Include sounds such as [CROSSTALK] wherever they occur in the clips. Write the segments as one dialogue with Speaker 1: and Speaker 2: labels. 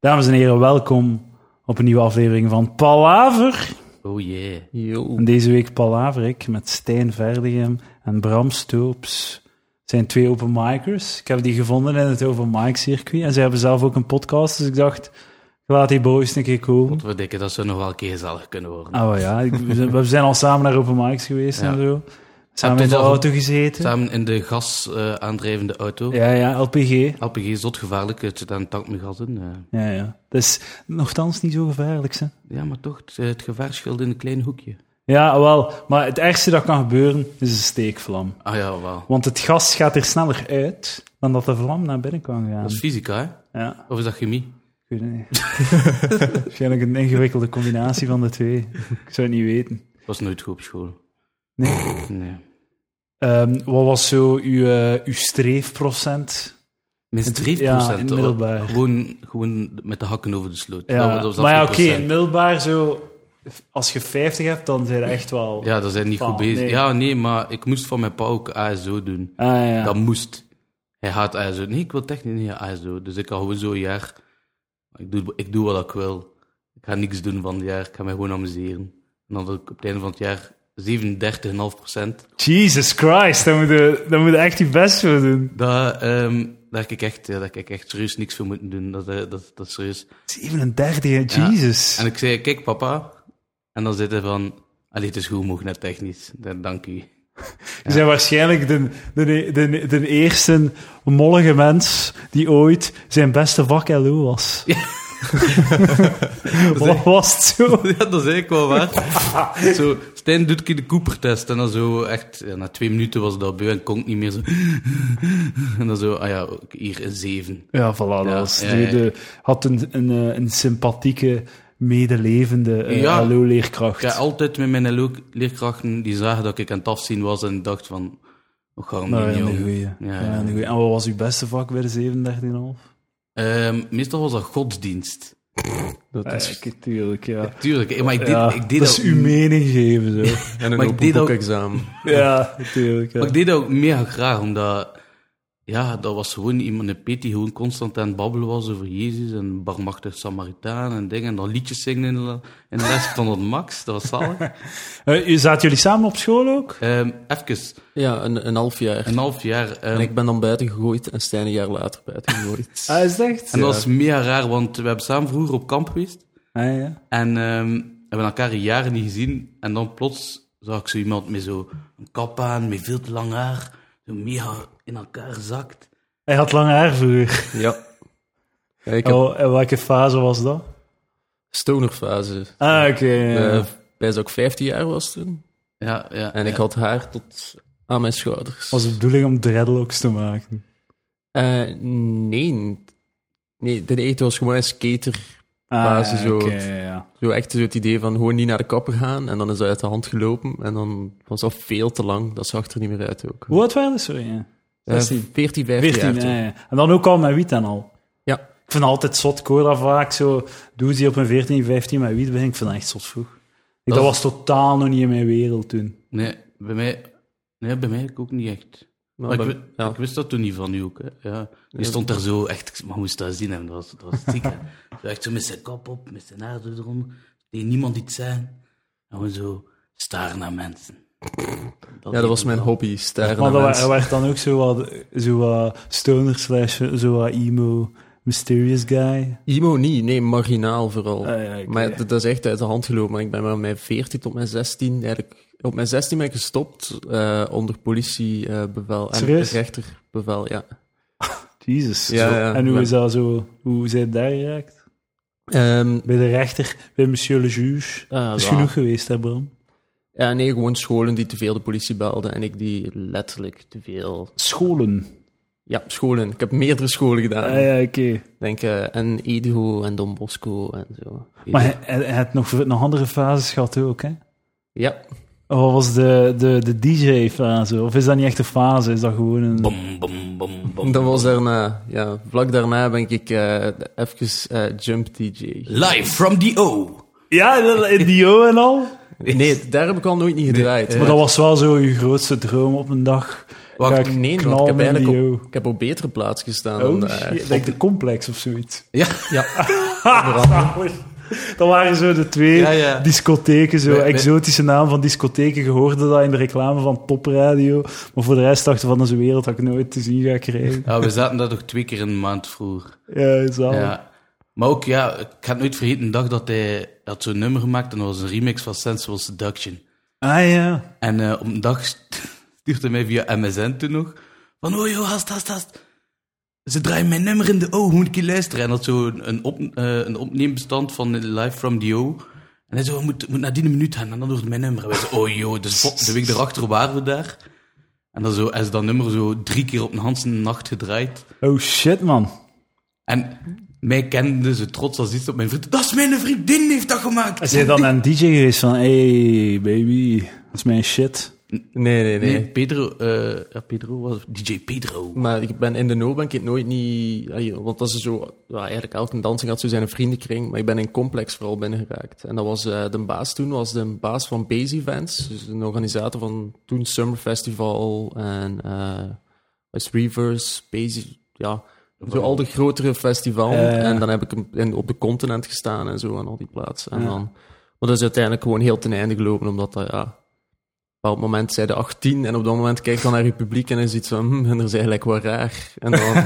Speaker 1: Dames en heren, welkom op een nieuwe aflevering van Palaver.
Speaker 2: Oh yeah.
Speaker 3: Yo.
Speaker 1: En deze week Palaver ik met Stijn Verdegem en Bram Stoops. Het zijn twee open micers. Ik heb die gevonden in het open mic circuit. En zij hebben zelf ook een podcast, dus ik dacht, ik laat die boys een keer komen.
Speaker 2: We denken dat ze nog wel een keer gezellig kunnen worden.
Speaker 1: Ah wel ja, ik- we zijn- we zijn al samen naar open mics geweest
Speaker 2: Ja.
Speaker 1: en zo. Samen in
Speaker 2: dit
Speaker 1: de
Speaker 2: al-
Speaker 1: auto gezeten.
Speaker 2: Samen in de gas eh, aandrijvende auto.
Speaker 1: Ja, ja, LPG.
Speaker 2: LPG is zot gevaarlijk, het zit aan een tank met gas in. eh.
Speaker 1: Ja, ja. Dat is nogthans niet zo gevaarlijk, hè.
Speaker 2: Ja, maar toch, het, het gevaar scheelt in een klein hoekje.
Speaker 1: Ja, wel. Maar het ergste dat kan gebeuren is een steekvlam.
Speaker 2: Ah ja, wel.
Speaker 1: Want het gas gaat er sneller uit dan dat de vlam naar binnen kan gaan.
Speaker 2: Dat is fysica, hè?
Speaker 1: Ja,
Speaker 2: Of is dat chemie?
Speaker 1: ik weet het niet. [LAUGHS] Waarschijnlijk een ingewikkelde combinatie van de twee. Ik zou het niet weten.
Speaker 2: Ik was nooit goed op school.
Speaker 1: Nee.
Speaker 2: Nee.
Speaker 1: Ehm, wat was zo uw, eh, uw streefprocent?
Speaker 2: Minstens 3%.
Speaker 1: Ja, in het middelbaar.
Speaker 2: oh, Gewoon, gewoon met de hakken over de sloot.
Speaker 1: Ja,
Speaker 2: Dat was- dat was
Speaker 1: maar ja, oké,
Speaker 2: 3%.
Speaker 1: in middelbaar zo... Als je 50 hebt, dan zijn je echt wel...
Speaker 2: Ja, dat zijn niet
Speaker 1: Van,
Speaker 2: goed bezig.
Speaker 1: nee.
Speaker 2: Ja, nee, maar ik moest van mijn pa ook ASO doen.
Speaker 1: Ah, ja.
Speaker 2: Dat moest. Hij haat ISO. Nee, ik wil technisch niet ISO. Dus ik ga gewoon zo'n jaar... Ik doe, ik doe wat ik wil. Ik ga niks doen van het jaar. Ik ga mij gewoon amuseren. En dan wil ik op het einde van het jaar 37,5
Speaker 1: Jesus Christ, daar moet, je, daar moet je echt je best voor doen.
Speaker 2: Dat, ehm daar heb ik echt, ja, daar heb ik echt serieus niks voor moeten doen. Dat, eh, dat, dat is serieus.
Speaker 1: 37, Jesus.
Speaker 2: En ik zei, kijk papa. En dan zit hij van... Allee, het is goed, mogen net technisch. Dan- Dank u.
Speaker 1: Je bent waarschijnlijk de, de, de, de eerste mollige mens die ooit zijn beste vak LO was. [LAUGHS] Wat was het zo?
Speaker 2: [LAUGHS] Ja, dat is eigenlijk wel waar.
Speaker 1: [LAUGHS]
Speaker 2: zo, Stijn doet een keer de Cooper-test. En dan zo echt, ja, na twee minuten was dat beu en kon ik niet meer zo. [LAUGHS] en dan zo, ah ja, ook hier een zeven.
Speaker 1: Ja, voilà, dat
Speaker 2: Ja,
Speaker 1: was.
Speaker 2: ja,
Speaker 1: de-
Speaker 2: ja.
Speaker 1: de- had een, een, eh, een sympathieke, medelevende eh,
Speaker 2: Ja.
Speaker 1: LO-leerkracht.
Speaker 2: Ik ga altijd met mijn LO leerkrachten die zagen dat ik aan het afzien was en dacht van, wat gaan we
Speaker 1: nou,
Speaker 2: doen,
Speaker 1: ja,
Speaker 2: jong?
Speaker 1: een goeie. Ja,
Speaker 2: Ja,
Speaker 1: een
Speaker 2: ja.
Speaker 1: goeie. En wat was uw beste vak bij de 37,5?
Speaker 2: Ehm, meestal was dat godsdienst.
Speaker 3: Dat is,
Speaker 1: Eigenlijk, tuurlijk, ja.
Speaker 2: Tuurlijk, maar ik deed,
Speaker 1: Ja,
Speaker 2: ik deed
Speaker 1: dat is uw mening geven,
Speaker 2: [LAUGHS]
Speaker 1: zo.
Speaker 3: en een
Speaker 2: maar ik
Speaker 3: open
Speaker 2: deed ook-
Speaker 3: boekexamen.
Speaker 1: ja, tuurlijk. Ja.
Speaker 2: Maar ik deed dat ook mega graag, omdat... Ja, dat was gewoon iemand, een Pet die gewoon constant aan het babbelen was over Jezus en barmachtig Samaritaan en dingen. En dan liedjes zingen in de, in de les van dat Max, dat was zalig.
Speaker 1: Eh, zaten jullie samen op school ook?
Speaker 2: Ehm even,
Speaker 3: [LAUGHS] Ja, een, een half jaar.
Speaker 2: een half jaar. ehm,
Speaker 3: En ik ben dan buiten gegooid en Stijn een jaar later buiten gegooid.
Speaker 1: Ah, is het echt?
Speaker 2: en dat was mega raar, want we hebben samen vroeger op kamp geweest.
Speaker 1: Ah, ja.
Speaker 2: En ehm, hebben elkaar in jaren niet gezien. En dan plots zag ik zo iemand met zo een kap aan, met veel te lang haar. Zo mega in elkaar zakt.
Speaker 1: Hij had lang haar vroeger.
Speaker 3: ja. Ja, ik heb
Speaker 1: Oh, en welke fase was dat?
Speaker 3: stonerfase.
Speaker 1: Ah, oké. ja.
Speaker 3: Eh, Bijna ook 15 jaar was toen.
Speaker 2: Ja, ja.
Speaker 3: En ik
Speaker 2: ja.
Speaker 3: had haar tot aan mijn schouders.
Speaker 1: was de bedoeling om dreadlocks te maken.
Speaker 3: Eh, nee. Nee, de eten was gewoon een skater. Fase zo.
Speaker 1: Ah, oké, ja.
Speaker 3: Zo echt zo het idee van gewoon niet naar de kapper gaan. En dan is dat uit de hand gelopen. En dan was dat veel te lang. Dat zag er niet meer uit ook.
Speaker 1: Hoe oud waren ze? Sorry, ja.
Speaker 3: Eh,
Speaker 1: 16?
Speaker 3: 14, 15
Speaker 1: 14,
Speaker 3: jaar toen.
Speaker 1: ja, ja. En dan ook al met wiet en al.
Speaker 3: Ja.
Speaker 1: Ik vind altijd zot. Ik hoor dat vaak zo. Doe ze op een 14, 15 met wiet begin. Ik vind dat echt zot vroeg. Ik, dat
Speaker 2: Dat-
Speaker 1: was totaal nog niet in mijn wereld toen.
Speaker 2: Nee, bij mij... Nee, bij mij ook niet echt.
Speaker 3: Maar
Speaker 2: Maar ik,
Speaker 3: bij-
Speaker 2: wi-
Speaker 3: ja.
Speaker 2: ik wist dat toen niet van u ook. Hè. Ja. Die
Speaker 3: Ja.
Speaker 2: stond daar zo echt, maar moest dat zien en dat was, dat was ziek. hè. [LAUGHS] Zo echt zo met zijn kop op, met zijn haar zo eronder. Deed niemand iets zijn. En we zo staren naar mensen.
Speaker 3: Ja, dat was
Speaker 2: deed
Speaker 3: mijn
Speaker 2: ik
Speaker 3: hobby, staren
Speaker 1: Maar
Speaker 3: naar
Speaker 1: dat wa-
Speaker 3: mensen.
Speaker 1: er werd dan ook zo wat, zo wat stoner slash zo wat emo mysterious guy.
Speaker 3: Emo niet, nee, marginaal vooral.
Speaker 1: Ah, ja, oké.
Speaker 3: Maar dat is echt uit de hand gelopen. Maar ik ben maar mijn 14 tot mijn 16 eigenlijk... Op mijn 16 ben ik gestopt eh, onder politiebevel en
Speaker 1: Serieus?
Speaker 3: rechterbevel, ja.
Speaker 1: Jezus.
Speaker 3: Ja,
Speaker 1: Zo.
Speaker 3: ja.
Speaker 1: en hoe
Speaker 3: Ja.
Speaker 1: is dat zo? Hoe zijn daar geraakt?
Speaker 3: Ehm,
Speaker 1: Bij de rechter, bij monsieur le juge.
Speaker 3: ah,
Speaker 1: Dat is
Speaker 3: ja.
Speaker 1: genoeg geweest, hè, Bram?
Speaker 3: Ja, nee, gewoon scholen die te veel de politie belden en ik die letterlijk te veel...
Speaker 1: Scholen.
Speaker 3: Ja, scholen. Ik heb meerdere scholen gedaan.
Speaker 1: Ah, ja, oké.
Speaker 3: Denk, eh, en Edo en Don Bosco en zo.
Speaker 1: Maar hij, hij- hij had nog, nog andere fases gehad ook, hè?
Speaker 3: Ja,
Speaker 1: Wat was de, de, de DJ-fase? Of is dat niet echt een fase? Is dat gewoon een...
Speaker 2: Bom, bom, bom, bom.
Speaker 3: dat was daarna. Ja, vlak daarna ben ik eh, even eh, jump DJ.
Speaker 2: Live from the O.
Speaker 1: Ja, in [LAUGHS] Dio en al? [LAUGHS]
Speaker 3: Nee, daar heb ik al nooit niet gedraaid.
Speaker 1: Maar dat was wel zo je grootste droom op een dag.
Speaker 2: Wacht,
Speaker 1: Ga
Speaker 3: nee, want ik
Speaker 1: knallen
Speaker 3: heb
Speaker 1: in
Speaker 3: eigenlijk
Speaker 1: Dio.
Speaker 3: Ik heb op betere plaats gestaan
Speaker 1: Oh,
Speaker 3: dan daar.
Speaker 1: shit. Denk de complex of zoiets.
Speaker 2: Ja,
Speaker 3: Ja,
Speaker 1: Dat Ah, waren zo de twee
Speaker 2: Ja, ja.
Speaker 1: discotheken, zo
Speaker 2: Wij- wij-
Speaker 1: exotische naam van discotheken. Je hoorde dat in de reclame van Topradio. Maar voor de rest dachten van, dat is een wereld dat ik nooit te zien ga krijgen.
Speaker 2: [LAUGHS] Ja, we zaten daar toch twee keer een maand vroeger.
Speaker 1: Ja,
Speaker 3: Oh.
Speaker 1: zalig.
Speaker 2: Ja. Maar ook, ja, ik ga het nooit vergeten, een dag dat hij had zo'n nummer gemaakt en dat was een remix van Sensual Seduction.
Speaker 1: Ah ja.
Speaker 2: En eh, op een dag [LAUGHS] stuurde hij mij via MSN toen nog. Van, oh joh, hast, hast, hast. Ze draaien mijn nummer in de O, moet ik je luisteren? En had zo een, een op, eh, een opneembestand van Live from the O. En hij zo, moet, moet naar die minuut gaan, en dan hoort mijn nummer. En wij zo, oh joh, dus vol- de week erachter waren we daar. En dan zo, hij is dat nummer zo drie keer op een handse nacht gedraaid.
Speaker 1: Oh shit, man.
Speaker 2: En mij kende ze trots als iets op mijn vriend. Dat is mijn vriendin, heeft dat
Speaker 1: Is
Speaker 2: gemaakt.
Speaker 1: hij dan een DJ geweest van, hey baby, dat is mijn shit. [LAUGHS]
Speaker 3: Nee, nee, nee.
Speaker 2: Nee, Pedro, eh, ja, Pedro was DJ Pedro.
Speaker 3: Maar ik ben in de no ben ik het nooit niet... ja, joh, Want dat is zo... Ja, eigenlijk elke dansing had zo zijn vriendenkring. Maar ik ben in Complex vooral binnengeraakt. En dat was eh, de baas toen, was de baas van Base Events. Dus een organisator van toen Summer Festival en eh was Reverse, Base... Ja, zo al de grotere festivals.
Speaker 1: Eh.
Speaker 3: En dan heb ik hem in- op de continent gestaan en zo en al die plaatsen. En
Speaker 1: Ja.
Speaker 3: dan... Maar dat is uiteindelijk gewoon heel ten einde gelopen, omdat dat... Ja, op een bepaald moment zei de 18 en op dat moment kijk dan naar je publiek en is iets van, hm, en dat is eigenlijk wel raar.
Speaker 1: [LAUGHS]
Speaker 3: En dan,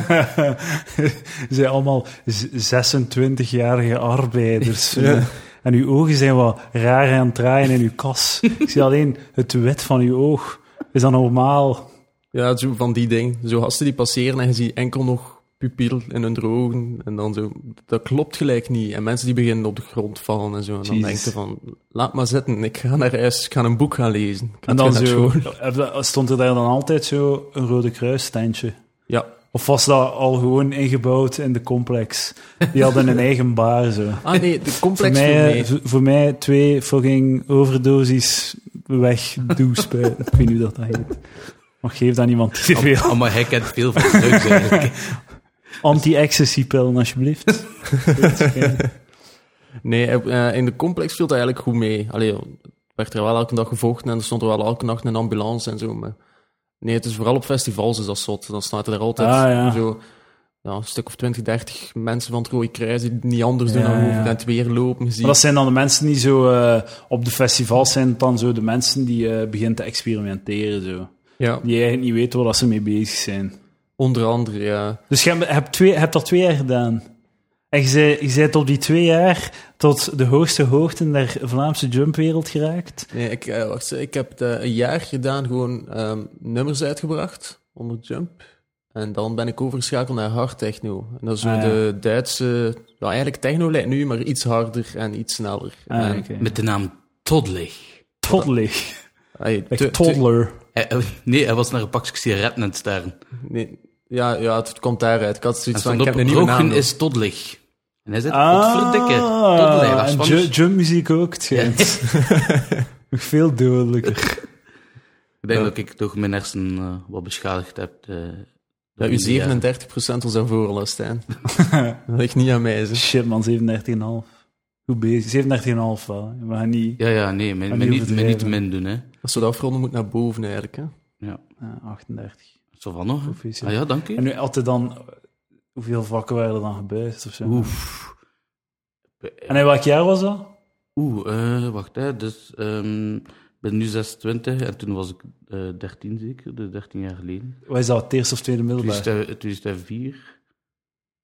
Speaker 1: zijn allemaal z- 26-jarige arbeiders.
Speaker 3: Ja.
Speaker 1: En, en uw ogen zijn wat raar aan het draaien in uw kas. Ik zie alleen het wit van uw oog. Is dat normaal?
Speaker 3: ja, zo van die ding. Zo gasten die passeren en je ziet enkel nog pupil in hun ogen. En dan zo, dat klopt gelijk niet. En mensen die beginnen op de grond vallen en zo. En dan
Speaker 1: Jezus.
Speaker 3: denk je van, laat maar zitten, ik ga naar huis, ik ga een boek gaan lezen. Ik ga
Speaker 1: En dan
Speaker 3: terug naar
Speaker 1: zo,
Speaker 3: school.
Speaker 1: heb je- stond er daar dan altijd zo een Rode Kruisstandje?
Speaker 3: Ja,
Speaker 1: Of was dat al gewoon ingebouwd in de complex? Die hadden [LAUGHS] een eigen bar, zo.
Speaker 3: ah nee,
Speaker 1: [LAUGHS]
Speaker 3: de
Speaker 1: Voor
Speaker 3: complex viel
Speaker 1: mij, eh,
Speaker 3: mee.
Speaker 1: v- voor mij twee fucking overdosis weg doespuiten. Ik weet niet hoe dat dat heet. Maar geef dat niemand te veel.
Speaker 2: Oh, maar hij kent veel van drugs eigenlijk.
Speaker 1: Anti-ecstasy-pillen, [LAUGHS] alsjeblieft.
Speaker 3: Nee, eh, in de complex viel dat eigenlijk goed mee. Allee, het werd er wel elke dag gevochten en er stond er wel elke nacht een ambulance en zo. Maar nee, het is vooral op festivals is dat zot. Dan staan er altijd
Speaker 1: Ah, ja.
Speaker 3: zo ja, een stuk of 20, 30 mensen van het Rode Kruis die niet anders doen
Speaker 1: Ja,
Speaker 3: dan
Speaker 1: ja.
Speaker 3: over en het weer lopen. Je ziet-
Speaker 1: Maar dat zijn dan de mensen die zo eh, op de festivals zijn, dan zo de mensen die eh, beginnen te experimenteren. Zo.
Speaker 3: Ja,
Speaker 1: Die eigenlijk niet weten waar dat ze mee bezig zijn.
Speaker 3: onder andere, ja.
Speaker 1: Dus je hebt, hebt, twee, hebt dat twee jaar gedaan. En je zei- je bent op die twee jaar tot de hoogste hoogten der Vlaamse jumpwereld geraakt.
Speaker 3: Nee, ik, eh, wacht, ik heb het, eh, een jaar gedaan gewoon ehm, nummers uitgebracht onder Jump. En dan ben ik overgeschakeld naar hard techno. En dat is zo
Speaker 1: Ah, ja.
Speaker 3: de Duitse... Nou, eigenlijk techno lijkt nu, maar iets harder en iets sneller.
Speaker 1: Ah,
Speaker 3: En-
Speaker 1: oké.
Speaker 2: [LAUGHS] Met de naam Toddley.
Speaker 1: Toddler.
Speaker 3: Ai,
Speaker 1: Like
Speaker 3: te- te-
Speaker 1: toddler.
Speaker 2: Hij- hij- nee, hij was naar een pakje sigaretten aan het staren.
Speaker 3: nee, ja, ja, het komt daaruit. Ik had
Speaker 2: En
Speaker 3: zoiets van,
Speaker 2: stond
Speaker 3: ik
Speaker 2: op,
Speaker 3: heb een nieuwe naam.
Speaker 2: roken
Speaker 3: nodig."
Speaker 2: is Toddley. En hij zei,
Speaker 1: Ah,
Speaker 2: godverdikke, Toddley. Dat is
Speaker 1: en
Speaker 2: van-
Speaker 1: ju- jumpmuziek ook, het schijnt.
Speaker 2: [LAUGHS]
Speaker 1: Nog veel dodelijker.
Speaker 2: Ik denk
Speaker 3: Ja.
Speaker 2: dat ik toch mijn hersenen eh, wat beschadigd heb. eh,
Speaker 3: Ja,
Speaker 2: door die jaren.
Speaker 3: uw 37% was aan voorlast, Stijn. dat ligt niet aan mij, zeg.
Speaker 1: Dus Shit man, 37,5. Goed bezig. 37,5 wel. We gaan niet...
Speaker 2: Ja, ja, nee,
Speaker 1: En
Speaker 2: men,
Speaker 1: die
Speaker 2: men niet, men niet te
Speaker 1: overdrijven.
Speaker 2: min doen, hè.
Speaker 3: Als we dat afronden, moet naar boven eigenlijk, hè.
Speaker 1: eh, 38.
Speaker 2: Zo van nog, hè.
Speaker 1: Officieel.
Speaker 2: Ah ja, dank
Speaker 1: En
Speaker 2: u.
Speaker 1: nu had hij dan... Hoeveel vakken waren er dan gebuist of zo?
Speaker 2: Oef.
Speaker 1: En in welk jaar was dat?
Speaker 2: Oeh, eh, wacht, hè. Dus, ehm, ik ben nu 26 en toen was ik eh 13 zeker, dus 13 jaar geleden.
Speaker 1: Wat is dat, het eerste of tweede middelbaar?
Speaker 2: 2000 2004.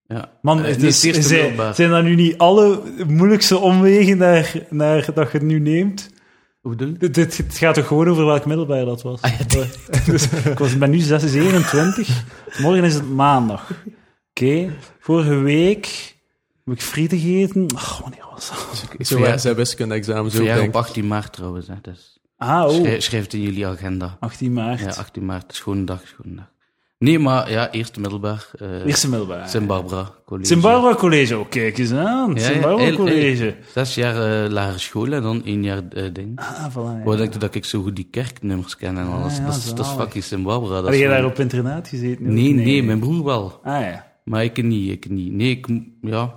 Speaker 2: Ja.
Speaker 1: Man,
Speaker 2: Eh,
Speaker 1: het
Speaker 2: nee,
Speaker 1: is,
Speaker 2: het eerste
Speaker 1: zijn,
Speaker 2: middelbaar.
Speaker 1: zijn dat nu niet alle moeilijkste omwegen naar, naar dat je het nu neemt?
Speaker 2: Hoe bedoel je?
Speaker 1: Dit, dit- het gaat toch gewoon over welk middelbaar dat was?
Speaker 2: Ah, ja,
Speaker 1: Dus ik was, ben nu 27. Morgen is het maandag. Oké. Vorige week heb ik friet gegeten. Ach, wanneer was dat?
Speaker 3: Ik
Speaker 2: verjaar-
Speaker 3: zou zijn wiskunde-examen zo
Speaker 2: Verjaar op
Speaker 3: denken.
Speaker 2: 18 maart trouwens. Hè. Dus
Speaker 1: Ah, oh.
Speaker 2: schrijf, schrijf het in jullie agenda.
Speaker 1: 18 maart.
Speaker 2: Ja, 18 maart, schone dag, schone dag. Nee, maar ja, eerst middelbaar. eh
Speaker 1: Eerste middelbaar.
Speaker 2: Sint Barbara College.
Speaker 1: Sint Barbara College, oh, kijk eens aan.
Speaker 2: Ja,
Speaker 1: Sint
Speaker 2: ja,
Speaker 1: Barbara
Speaker 2: heel-
Speaker 1: College.
Speaker 2: Zes jaar eh, lagere school en dan één jaar eh, ding.
Speaker 1: Ah, voilà, ja.
Speaker 2: Waar denk je dat ik zo goed die kerknummers ken en alles?
Speaker 1: Ah, ja,
Speaker 2: dat, is, dat is
Speaker 1: zalig.
Speaker 2: fucking Sint Barbara. Dat
Speaker 1: Had
Speaker 2: is
Speaker 1: je
Speaker 2: wel-
Speaker 1: daar op internaat gezeten?
Speaker 2: Nee, nee, mijn broer wel.
Speaker 1: Ah, ja.
Speaker 2: Maar ik niet, ik niet. Nee, ik, m- ja.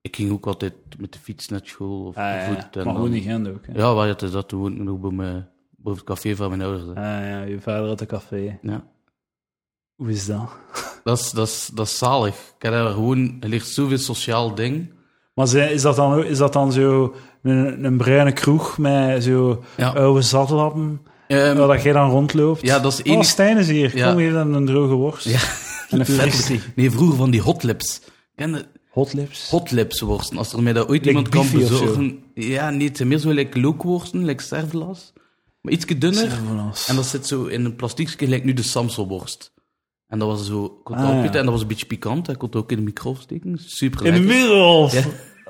Speaker 2: Ik ging ook altijd met de fiets naar school of
Speaker 1: Ah, ja.
Speaker 2: voet. en
Speaker 1: maar
Speaker 2: dan-
Speaker 1: gewoon in Gent ook. Hè.
Speaker 2: Ja, waar het is dus dat toen woonde ik nog bij mijn, eh, boven het café van mijn ouders. hè.
Speaker 1: Ah, ja, je vader had een café.
Speaker 2: Ja.
Speaker 1: Hoe is dat?
Speaker 2: Dat is, dat, is, dat is zalig. Ik heb daar gewoon, er ligt zoveel sociaal ding.
Speaker 1: Maar zij- is dat dan, ook- is dat dan zo een, een bruine kroeg met zo
Speaker 2: Ja.
Speaker 1: oude zatlappen,
Speaker 2: Ehm,
Speaker 1: waar dat jij dan rondloopt?
Speaker 2: ja, dat is
Speaker 1: Oh,
Speaker 2: één.
Speaker 1: Stijn is hier.
Speaker 2: Ja.
Speaker 1: Kom hier dan een droge worst.
Speaker 2: Ja.
Speaker 1: [LAUGHS] En een fristie.
Speaker 2: Letterlijk. Nee, vroeger van die hotlips. Ken je
Speaker 1: Hot lips.
Speaker 2: hotlips worsten? Als er mij dat ooit
Speaker 1: Like
Speaker 2: iemand kan
Speaker 1: beefy of zo.
Speaker 2: bezorgen. Ja, nee, het zijn meer zo like lookworsten, like servelas. Maar ietsje dunner. En dat zit zo in een plastiekje, gelijk nu de Samsonworst. En dat was zo, ik kon het
Speaker 1: Ah, ja.
Speaker 2: opeten en dat was een beetje pikant. hè. Ik kon het ook in de microof steken. Super
Speaker 1: In de
Speaker 2: lekker.
Speaker 1: middel.
Speaker 2: Ja.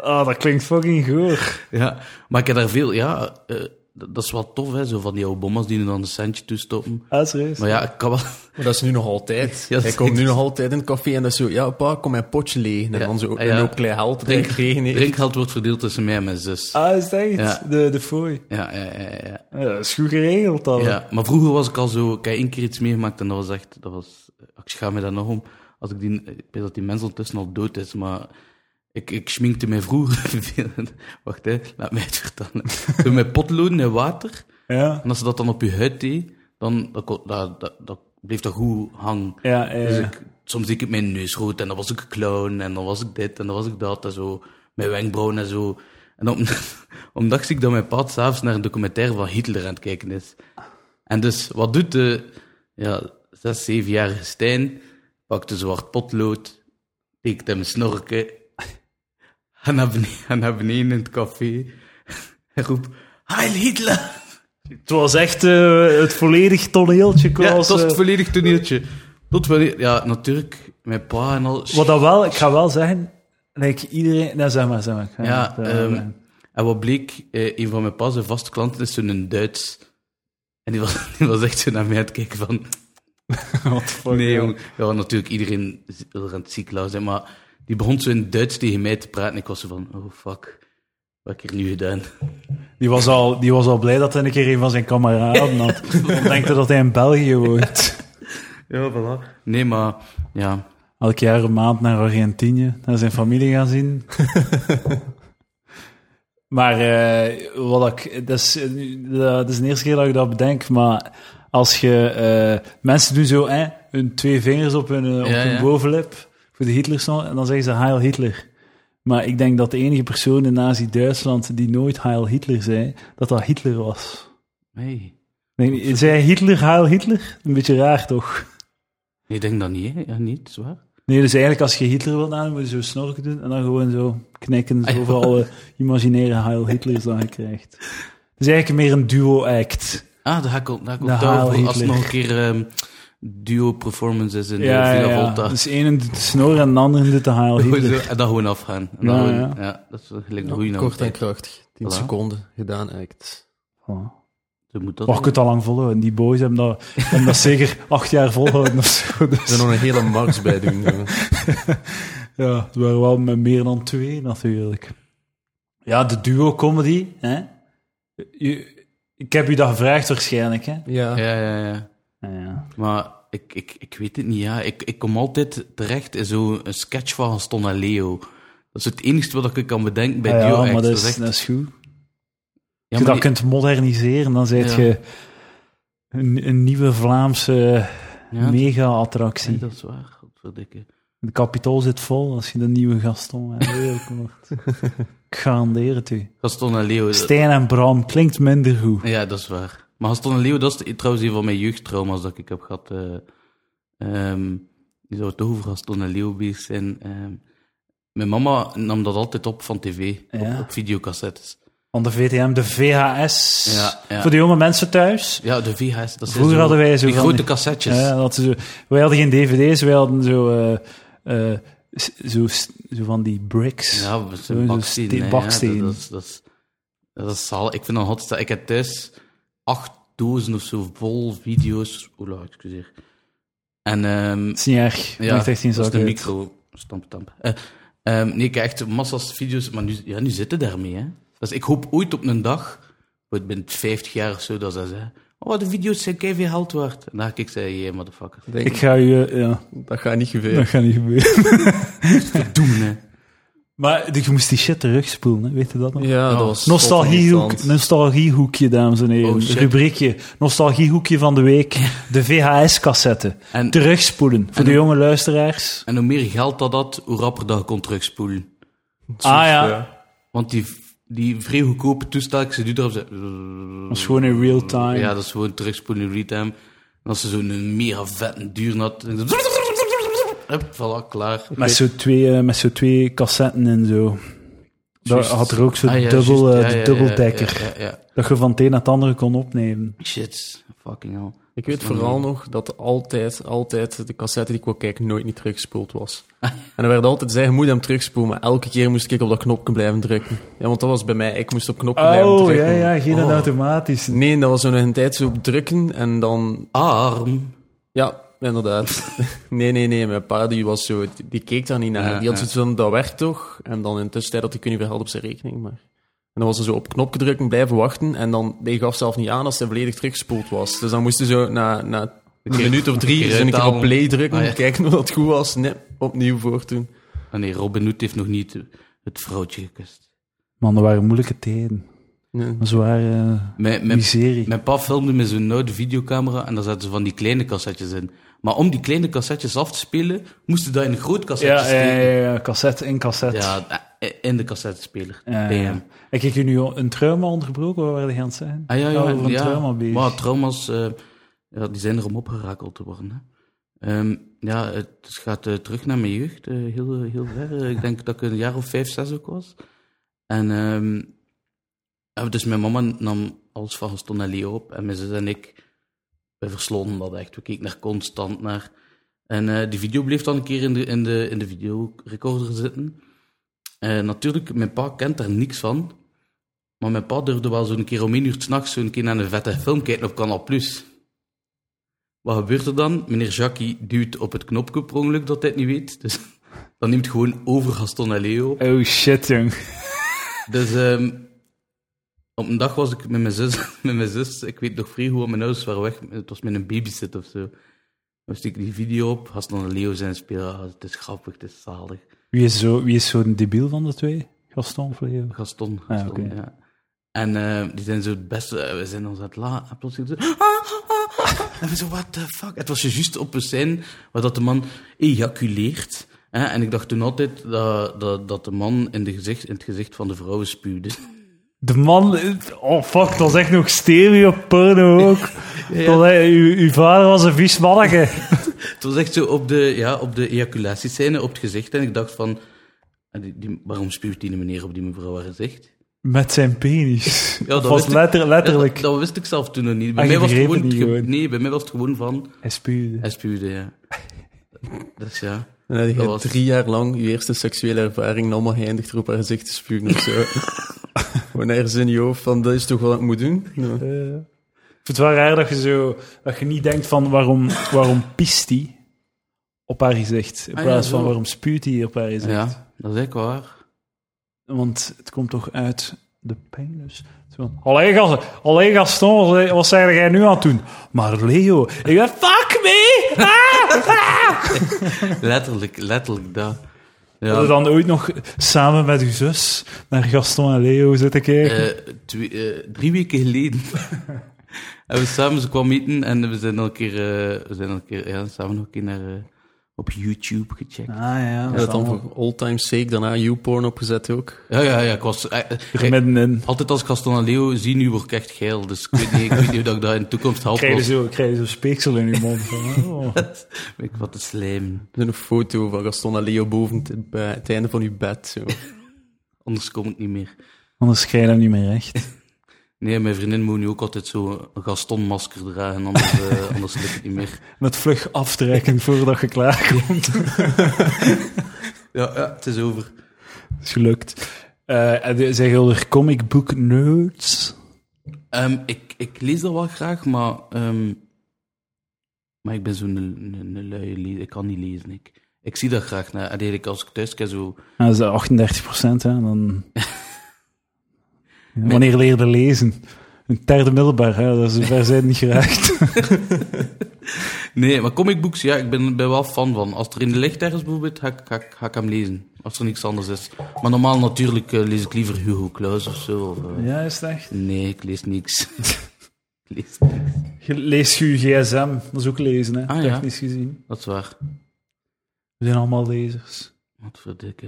Speaker 1: Ah, dat klinkt fucking goor.
Speaker 2: Ja, maar ik heb daar veel, ja, eh, dat dat is wel tof, hè, zo van die Obamas die er dan een centje toestoppen.
Speaker 1: Ah, serieus.
Speaker 2: Maar ja, ik kan wel.
Speaker 3: Maar dat is nu nog altijd.
Speaker 2: Ja, dat
Speaker 3: ik
Speaker 2: is
Speaker 3: kom nu
Speaker 2: echt-
Speaker 3: nog altijd in het café en dat is zo, ja, pa, kom mijn potje leeg. En
Speaker 2: Ja,
Speaker 3: dan zo
Speaker 2: ja.
Speaker 3: een hoop klein helpen. Drink,
Speaker 2: [LAUGHS]
Speaker 3: regen [LAUGHS]
Speaker 2: Drinkgeld wordt verdeeld tussen mij en mijn zus.
Speaker 1: Ah, is dat echt?
Speaker 2: Ja.
Speaker 1: De, de fooi.
Speaker 2: Ja, ja, ja, ja.
Speaker 1: Ja, dat is goed geregeld dan.
Speaker 2: ja. Maar vroeger was ik al zo, ik heb één keer iets meegemaakt en dat was echt, dat was, eh, ik schaam me daar nog om. Als ik die, eh, ik weet dat die mens ondertussen al dood is, maar ik, ik schminkte mij vroeger [LAUGHS] veel. Wacht, hè, laat mij het vertellen. Door mijn potloden in water.
Speaker 1: Ja,
Speaker 2: En als ze dat dan op je huid deed, dan dat, kon- dat, dat, dat bleef dat goed hangen.
Speaker 1: ja, ja.
Speaker 2: Dus ik, soms deed ik het mijn neus rood en dan was ik een clown en dan was ik dit en dan was ik dat en zo. Mijn wenkbrauwen en zo. En [LAUGHS] op, op een dag zie ik dat mijn pad s'avonds naar een documentaire van Hitler aan het kijken is. En dus, wat doet de ja, zes, zevenjarige Stijn? Pakt een zwart potlood, steekt hem een snorken, [LAUGHS] gaat naar beneden, gaat naar beneden in het café [LAUGHS] en roept... Heil Hitler!
Speaker 1: Het was echt eh, het volledig toneeltje.
Speaker 2: Ja,
Speaker 1: Klaus,
Speaker 2: [LAUGHS] dat was
Speaker 1: eh.
Speaker 2: het volledig toneeltje. Tot wanneer... Ja, natuurlijk, mijn pa en al...
Speaker 1: Wat dat wel, ik ga wel zeggen, like iedereen, nou zeg maar, zeg maar. Ik ga
Speaker 2: Ja,
Speaker 1: het, eh,
Speaker 2: ehm,
Speaker 1: zeggen.
Speaker 2: [LAUGHS] en wat bleek, eh, een van mijn pa's een vaste klanten is zo'n Duits. En die was, [LAUGHS] die was echt zo naar mij aan het kijken van... nee, jong. Ja, want natuurlijk, iedereen is- wil aan het ziek lauw zijn, maar die begon zo in Duits tegen mij te praten. En ik was zo van, oh fuck, wat heb ik hier nu gedaan? [LAUGHS]
Speaker 1: die, was al, die was al blij dat hij een keer een van zijn kameraden had.
Speaker 2: [LAUGHS]
Speaker 1: Ontdekte dat hij in België woont.
Speaker 2: Ja, voilà. Nee, maar ja...
Speaker 1: Elk jaar een maand naar Argentinië, naar zijn familie gaan
Speaker 2: [LAUGHS]
Speaker 1: zien. maar eh, wat ik, dat, is, eh, nu- dat is de eerste keer dat ik dat bedenk, maar als je... eh, mensen doen zo hè, hun twee vingers op hun, eh, op
Speaker 2: Ja,
Speaker 1: hun
Speaker 2: ja.
Speaker 1: bovenlip voor de Hitlerstand en dan zeggen ze Heil Hitler. Maar ik denk dat de enige persoon in Nazi-Duitsland die nooit Heil Hitler zei, dat dat Hitler was.
Speaker 2: Nee,
Speaker 1: Ik denk, zei Hitler Heil Hitler? Een beetje raar toch?
Speaker 2: nee ik denk dat niet, hè. Ja, niet, zwaar.
Speaker 1: Nee, dus eigenlijk als je Hitler wilt nadoen, moet je zo snorken doen en dan gewoon zo knikken
Speaker 2: Ah, ja.
Speaker 1: zoveel alle imaginaire Heil Hitlers dan je krijgt. Het is eigenlijk meer een duo-act.
Speaker 2: Ah, daar ga ik op, daar ga ik op
Speaker 1: De
Speaker 2: touw
Speaker 1: Heil
Speaker 2: voor als er
Speaker 1: Hitler.
Speaker 2: nog een keer ehm, duo performances in de Villa Volta.
Speaker 1: Dus één doet de snor en de ander doet de Heil Hitler.
Speaker 2: Zo, En dan [LAUGHS] gewoon afgaan. En dan
Speaker 1: Ja,
Speaker 2: gewoon-
Speaker 1: ja.
Speaker 2: ja. dat is wel gelijk de goeie
Speaker 3: Kort en
Speaker 2: naam.
Speaker 3: krachtig. 10
Speaker 2: nou, Voilà.
Speaker 3: seconden, gedaan act.
Speaker 1: Oh.
Speaker 2: Zo moet dat
Speaker 1: Maar je kunt dat lang volhouden. Die boys hebben dat, hebben dat zeker acht jaar volhouden of zo.
Speaker 3: Er zijn
Speaker 1: Dus,
Speaker 3: nog een hele max bij doen. jongen.
Speaker 1: ja, het waren wel met meer dan twee natuurlijk. Ja, de duo-comedy. Hè? Je- ik heb u dat gevraagd waarschijnlijk. Hè?
Speaker 3: Ja.
Speaker 2: Ja, ja, ja.
Speaker 1: Ja, ja.
Speaker 2: Maar ik, ik, ik weet het niet, ja. Ik, ik kom altijd terecht in zo'n sketch van Gaston en Leo. Dat is het enige wat ik kan bedenken bij
Speaker 1: Ah
Speaker 2: duo
Speaker 1: ja, maar
Speaker 2: acts.
Speaker 1: dat is,
Speaker 2: echt-
Speaker 1: dat is goed.
Speaker 2: ja,
Speaker 1: Als je
Speaker 2: maar
Speaker 1: dat kunt moderniseren, dan zijt
Speaker 2: Ja.
Speaker 1: je een, een nieuwe Vlaamse
Speaker 2: die- ja,
Speaker 1: mega-attractie.
Speaker 2: nee, dat is waar, godverdikke.
Speaker 1: Het kapitool zit vol als je de nieuwe Gaston en Leo
Speaker 2: [LAUGHS]
Speaker 1: wordt. Ik garandeer het u.
Speaker 2: Gaston en Leo... dat-
Speaker 1: Stijn en Bram klinkt minder goed.
Speaker 2: Ja, dat is waar. Maar Gaston en Leo, dat is trouwens een van mijn jeugdtrauma's dat ik heb gehad. eh ehm, je zou toch over Gaston en Leo bezig zijn. ehm. mijn mama nam dat altijd op van tv,
Speaker 1: Ja.
Speaker 2: op, op videocassettes.
Speaker 1: Van de VTM, de VHS.
Speaker 2: Ja, ja.
Speaker 1: Voor de jonge mensen thuis.
Speaker 2: Ja, de VHS. Dat zijn
Speaker 1: Vroeger
Speaker 2: zo-
Speaker 1: hadden wij zo
Speaker 2: Die
Speaker 1: van
Speaker 2: grote
Speaker 1: die-
Speaker 2: cassettes.
Speaker 1: Ja, dat ze zo, wij hadden geen dvd's, wij hadden zo, eh, eh, s- zo, s- zo van die bricks.
Speaker 2: Ja, we
Speaker 1: Zo'n
Speaker 2: zijn baksteen.
Speaker 1: steen-
Speaker 2: hè. Ja,
Speaker 1: baksteen.
Speaker 2: dat, is- dat, is, dat is zalig. Ik vind dat hot. Ik heb thuis acht dozen of zo vol video's. Oela, excuseer. En ehm,
Speaker 1: Dat is niet erg.
Speaker 2: ja,
Speaker 1: Maakt echt geen
Speaker 2: dat is
Speaker 1: zak
Speaker 2: de
Speaker 1: uit.
Speaker 2: micro. Stamp, stamp. Eh, ehm, nee, ik heb echt massa's video's. Maar nu, ja, nu zitten daarmee. Hè. Dus ik hoop ooit op een dag, ooit binnen 50 jaar of zo, dat ze zeggen: Oh, de video's zijn keihard geld waard. En dan ga ik zeggen: Yeah, motherfucker.
Speaker 3: Ik denk,
Speaker 1: Ik ga u... eh, ja,
Speaker 3: dat gaat niet gebeuren.
Speaker 1: dat gaat niet
Speaker 2: [LAUGHS]
Speaker 1: gebeuren.
Speaker 2: Doen, hè.
Speaker 1: Maar je moest die shit terugspoelen, hè? weet je dat nog?
Speaker 3: Ja, dat
Speaker 2: Oh.
Speaker 3: was
Speaker 1: Nostalgiehoek,
Speaker 3: constant.
Speaker 1: nostalgiehoekje, dames en heren.
Speaker 2: Oh, shit.
Speaker 1: Rubriekje, nostalgiehoekje van de week. De VHS-cassette.
Speaker 2: En-
Speaker 1: Terugspoelen, voor de jonge luisteraars.
Speaker 2: En hoe meer geld dat had, hoe rapper dat je kon terugspoelen.
Speaker 1: Ah ja,
Speaker 2: Want die, die vrij goedkope toestel, ik zit nu erop. ze-
Speaker 1: dat is gewoon in real time.
Speaker 2: Ja, dat is gewoon terugspoelen in real-time. En als ze zo'n mega vette duur had. dan- Hup, voilà, klaar.
Speaker 1: met zo'n twee, eh, met zo twee cassetten en zo. Daar
Speaker 2: Juist.
Speaker 1: had er ook zo'n
Speaker 2: Ah, ja,
Speaker 1: dubbel,
Speaker 2: juist.
Speaker 1: eh,
Speaker 2: Ja, ja, ja,
Speaker 1: dubbeldekker.
Speaker 2: ja, ja, ja.
Speaker 1: Dat je van het een naar het andere kon opnemen.
Speaker 2: Shit, fucking hell.
Speaker 3: Ik weet vooral nog dat altijd, altijd de cassette die ik wou kijken nooit niet teruggespoeld was. [LAUGHS] En er werd altijd gezegd, je moet hem terugspoelen, maar elke keer moest ik op dat knopje blijven drukken. Ja, want dat was bij mij, ik moest op knopje blijven
Speaker 1: Oh, ja,
Speaker 3: drukken.
Speaker 1: ja, geen
Speaker 2: Oh.
Speaker 1: automatisch.
Speaker 3: Nee, dat was zo nog een tijd zo op drukken en dan...
Speaker 2: Arm.
Speaker 3: Ja, inderdaad. [LAUGHS] nee, nee, nee, mijn pa die was zo, die, die keek daar niet naar.
Speaker 2: Ja,
Speaker 3: die had
Speaker 2: ja.
Speaker 3: zoiets van, dat werkt toch? En dan in tussentijd had ik niet verhaald op zijn rekening, maar... En dan was ze zo op knopje drukken, blijven wachten en dan, die gaf zelf niet aan als hij volledig teruggespoeld was. Dus dan moest hij zo na... na een minuut of
Speaker 2: een
Speaker 3: drie
Speaker 2: keer
Speaker 3: zo een keer op
Speaker 2: uithalen.
Speaker 3: play drukken,
Speaker 2: Ah, ja.
Speaker 3: kijken of dat goed was. Nee, opnieuw voortdoen.
Speaker 2: Ah, nee, Robin Hood heeft nog niet eh, het vrouwtje gekust.
Speaker 1: Man, dat waren moeilijke tijden.
Speaker 3: Nee.
Speaker 1: Dat waren eh,
Speaker 2: Mijn, mijn,
Speaker 1: miserie.
Speaker 2: mijn pa filmde met zo'n oude videocamera en daar zaten ze van die kleine cassettes in. Maar om die kleine cassettes af te spelen, moesten dat in een groot cassette
Speaker 1: ja, ja,
Speaker 2: steken.
Speaker 1: ja, ja, cassette in cassette.
Speaker 2: Ja, eh, in de cassettespeler.
Speaker 1: Ja,
Speaker 2: Damn.
Speaker 1: ja. Ik heb je nu al een trauma onderbroken, waar wilde je aan het zeggen?
Speaker 2: Ah ja,
Speaker 1: We waren
Speaker 2: ja,
Speaker 1: over een
Speaker 2: ja.
Speaker 1: trauma bezig.
Speaker 2: Maar trauma's, eh, ja, die zijn er om opgerakeld te worden. Hè. Ehm, ja, het gaat eh, terug naar mijn jeugd, eh, heel, heel ver. Eh, ik denk dat ik een jaar of vijf, zes ook was. En ehm, ja, dus mijn mama nam alles van Gaston en Leo op. En mijn zus en ik, we verslonden dat echt. We keken er constant naar. En eh, die video bleef dan een keer in de, in de, in de videorecorder zitten. Eh, natuurlijk, mijn pa kent er niks van. Maar mijn pa durfde wel zo'n keer om één uur 's nachts zo'n keer naar een vette film kijken op Kanaal Plus. Wat gebeurt er dan? Meneer Jackie duwt op het knopje per ongeluk dat hij het niet weet. Dus [LAUGHS] dan neemt gewoon over Gaston en Leo op.
Speaker 1: Oh shit, jong.
Speaker 2: Dus ehm, op een dag was ik met mijn zus, [LAUGHS] met mijn zus ik weet nog vrij goed, want mijn ouders waren weg. Het was met een babysit of zo. Dan stiek ik die video op, Gaston en Leo zijn spelen. Ah, het is grappig, het is zalig.
Speaker 1: Wie is zo- wie is zo'n debiel van de twee? Gaston of Leo?
Speaker 2: Gaston.
Speaker 1: Ah,
Speaker 2: Gaston,
Speaker 1: oké.
Speaker 2: ja. En eh, die zijn zo het beste, eh, we zijn ons aan het la. En plotseling zo... ah, en we zo, what the fuck? Het was juist op een scène waar dat de man ejaculeert. Hè? En ik dacht toen altijd dat, dat, dat de man in, de gezicht, in het gezicht van de vrouwen spuwde.
Speaker 1: De man... Oh fuck, dat was echt nog stereo porno
Speaker 2: [LAUGHS]
Speaker 1: ook. Dat, hij- uw, uw vader was een vies mannetje.
Speaker 2: het was echt zo op de, ja, op de ejaculatiescène, op het gezicht. En ik dacht van, eh, die, die- waarom spuwt die meneer op die mevrouw haar gezicht?
Speaker 1: Met zijn penis.
Speaker 2: Ja, dat
Speaker 1: dat was
Speaker 2: wist ik-
Speaker 1: letter- letterlijk.
Speaker 2: Ja, dat, dat wist ik zelf toen nog niet.
Speaker 1: Ah,
Speaker 2: Bij,
Speaker 1: je
Speaker 2: mij was, het
Speaker 1: begreep
Speaker 2: gewoon,
Speaker 1: het niet
Speaker 2: ge-
Speaker 1: gewoon.
Speaker 2: nee, bij mij was het gewoon van,
Speaker 1: Hij spuwde.
Speaker 2: hij spuwde, ja. Dus ja...
Speaker 3: En dan heb je
Speaker 2: Dat was-
Speaker 3: drie jaar lang je eerste seksuele ervaring allemaal eindigt erop haar gezicht te spugen of
Speaker 2: [LAUGHS]
Speaker 3: zo. Gewoon ergens in je hoofd van, dat is toch wat ik moet doen? Ja.
Speaker 1: Eh, ik vind het wel raar dat je, zo, dat je niet denkt van waarom, waarom piest hij op haar gezicht. In
Speaker 2: Ah, ja,
Speaker 1: plaats van
Speaker 2: zo.
Speaker 1: waarom spuwt hij op haar gezicht.
Speaker 2: Ja, dat is echt waar.
Speaker 1: Want het komt toch uit de penis. Zo. Allee, Gas- allee, Gaston, wat- wat zeg jij nu aan het doen? Maar Leo, ik ben fuck me! Ah!
Speaker 2: [LAUGHS] Letterlijk, letterlijk dat.
Speaker 1: Hadden
Speaker 2: Ja,
Speaker 1: dan ooit nog samen met uw zus naar Gaston en Leo zitten kijken?
Speaker 2: eh, twee- eh, drie weken geleden [LAUGHS] hebben we samen ze kwam eten en we zijn al een keer, eh, we zijn al een keer ja, samen nog een keer naar, eh, op YouTube gecheckt.
Speaker 1: ah ja,
Speaker 3: En
Speaker 1: dat
Speaker 3: dat dan voor all time sake, daarna YouPorn opgezet ook.
Speaker 2: Ja, ja, ja, ik was... eh, eh,
Speaker 1: er middenin.
Speaker 2: altijd als ik Gaston en Leo zie, nu word ik echt geil. Dus ik weet niet, ik weet niet of dat ik dat in de toekomst help.
Speaker 1: Krijg je
Speaker 2: was.
Speaker 1: zo, krijg je zo speeksel in je mond.
Speaker 2: [LAUGHS]
Speaker 1: Van, oh.
Speaker 2: Ik wat te slijm.
Speaker 3: Er is een foto van Gaston en Leo boven het, bij het einde van uw bed. Zo.
Speaker 2: Anders kom ik niet meer.
Speaker 1: Anders krijg je hem niet meer recht.
Speaker 2: Nee, mijn vriendin moet nu ook altijd zo'n Gaston-masker dragen, anders, eh, [LAUGHS] anders lukt het niet meer.
Speaker 1: Met vlug aftrekken voordat je klaar komt.
Speaker 2: Ja, ja, het is over.
Speaker 1: [LAUGHS] is gelukt. Eh, en de- zijn jullie er comic book nerds?
Speaker 2: Ehm, ik, ik lees dat wel graag, maar, ehm, maar ik ben zo'n een, een, een luie lezer. Ik kan niet lezen. Ik, ik zie dat graag. Naar, en eigenlijk als ik thuis kijk, zo...
Speaker 1: Ja, Nou, dat is 38 hè, [LAUGHS] dan... Wanneer leerde lezen? Een derde middelbaar, hè? dat is ver zijn niet geraakt.
Speaker 2: Nee, maar comicbooks, ja, ik ben, ben wel fan van. Als er in de licht ergens bijvoorbeeld, ga, ik- ga, ik- ga ik hem lezen. Als er niks anders is. Maar normaal natuurlijk eh, lees ik liever Hugo Claus of zo. of,
Speaker 1: [LAUGHS]
Speaker 2: eh,
Speaker 1: ja, is het echt.
Speaker 2: Nee, ik lees niks. [LAUGHS] ik lees niks.
Speaker 1: Je leest je gsm, dat is ook lezen, hè?
Speaker 2: Ah, ja.
Speaker 1: technisch gezien.
Speaker 2: Dat is waar.
Speaker 1: We zijn allemaal lezers.
Speaker 2: Wat voor dikke.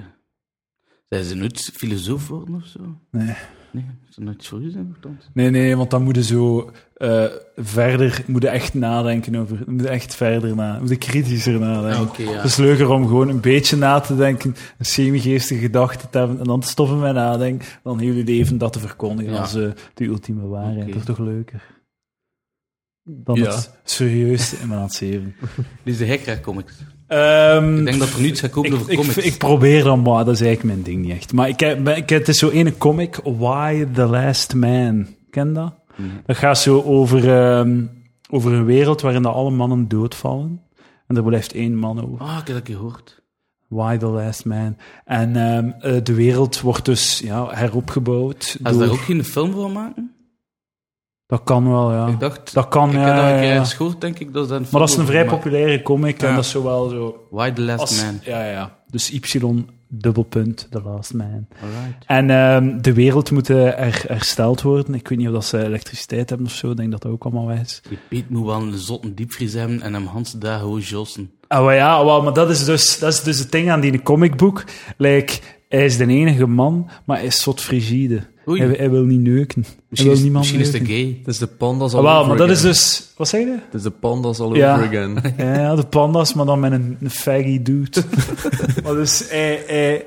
Speaker 2: Zijn ze nooit filosoof worden of zo?
Speaker 1: Nee.
Speaker 2: Nee, ze nooit voor u zijn, nogthans.
Speaker 1: Nee, nee, want dan moet je zo eh, verder, moet je echt nadenken over, moet je echt verder na, moet je kritischer nadenken.
Speaker 2: Ah, oké, ja.
Speaker 1: Het is Dus leuker om gewoon een beetje na te denken, een semi-geestige gedachte te hebben en dan te stoppen met nadenken, dan heel je leven dat te verkondigen
Speaker 2: Ja.
Speaker 1: als eh, de ultieme waarheid.
Speaker 2: Oké.
Speaker 1: Dat is toch leuker? Dan
Speaker 3: Ja.
Speaker 1: het serieus in mijn zeven.
Speaker 2: Dit is de Hekra comics.
Speaker 1: Ehm,
Speaker 2: Ik denk dat er nu iets gaat komen
Speaker 1: ik,
Speaker 2: over
Speaker 1: ik-
Speaker 2: comics.
Speaker 1: ik probeer dan, maar dat is eigenlijk mijn ding niet echt. Maar ik, heb- ik, het is zo ene comic, Why the Last Man. Ken dat?
Speaker 2: Nee.
Speaker 1: Dat gaat zo over, ehm, over een wereld waarin dat alle mannen doodvallen. En er blijft één man over.
Speaker 2: Ah, ik heb dat gehoord.
Speaker 1: Why the Last Man. En ehm, eh, de wereld wordt dus ja, heropgebouwd.
Speaker 2: Gaan ze
Speaker 1: door-
Speaker 2: daar ook geen film voor maken?
Speaker 1: Dat kan wel, ja.
Speaker 2: Ik dacht...
Speaker 1: Dat kan,
Speaker 2: ik
Speaker 1: Ah. ja.
Speaker 2: heb dat
Speaker 1: ja,
Speaker 2: een keer
Speaker 1: ja.
Speaker 2: ergens gehoord, denk ik, dat ze daar film
Speaker 1: Maar dat is een
Speaker 2: over
Speaker 1: vrij
Speaker 2: maken.
Speaker 1: populaire comic. En
Speaker 2: Ja.
Speaker 1: dat is zowel zo...
Speaker 2: Why the Last
Speaker 1: Als,
Speaker 2: Man.
Speaker 1: ja, ja. Dus Y, dubbelpunt, The Last Man.
Speaker 2: Alright.
Speaker 1: En ehm, de wereld moet eh, her- hersteld worden. Ik weet niet of dat ze elektriciteit hebben of zo. Ik denk dat dat ook allemaal weg is.
Speaker 2: Die Piet moet wel een zotte diepvries hebben en hem Hans daar gewoon jossen.
Speaker 1: Ah, maar ja, wel, maar dat is, dus, dat is dus het ding aan die comicboek. Like, hij is de enige man, maar hij is zot frigide.
Speaker 2: Oei.
Speaker 1: Hij, hij wil niet neuken. hij
Speaker 2: Misschien,
Speaker 1: wil
Speaker 2: is,
Speaker 1: niemand
Speaker 2: misschien is de
Speaker 1: neuken.
Speaker 2: gay.
Speaker 3: Het is de pandas
Speaker 1: Ah,
Speaker 3: al
Speaker 1: wel,
Speaker 3: over
Speaker 1: maar dat is
Speaker 3: again.
Speaker 1: dus... Wat zeg je?
Speaker 3: Het is de pandas al
Speaker 1: Ja.
Speaker 3: over
Speaker 2: [LAUGHS]
Speaker 3: again.
Speaker 1: [LAUGHS] Ja, ja, de panda's, maar dan met een, een faggy dude. [LAUGHS] maar dus, hij, hij-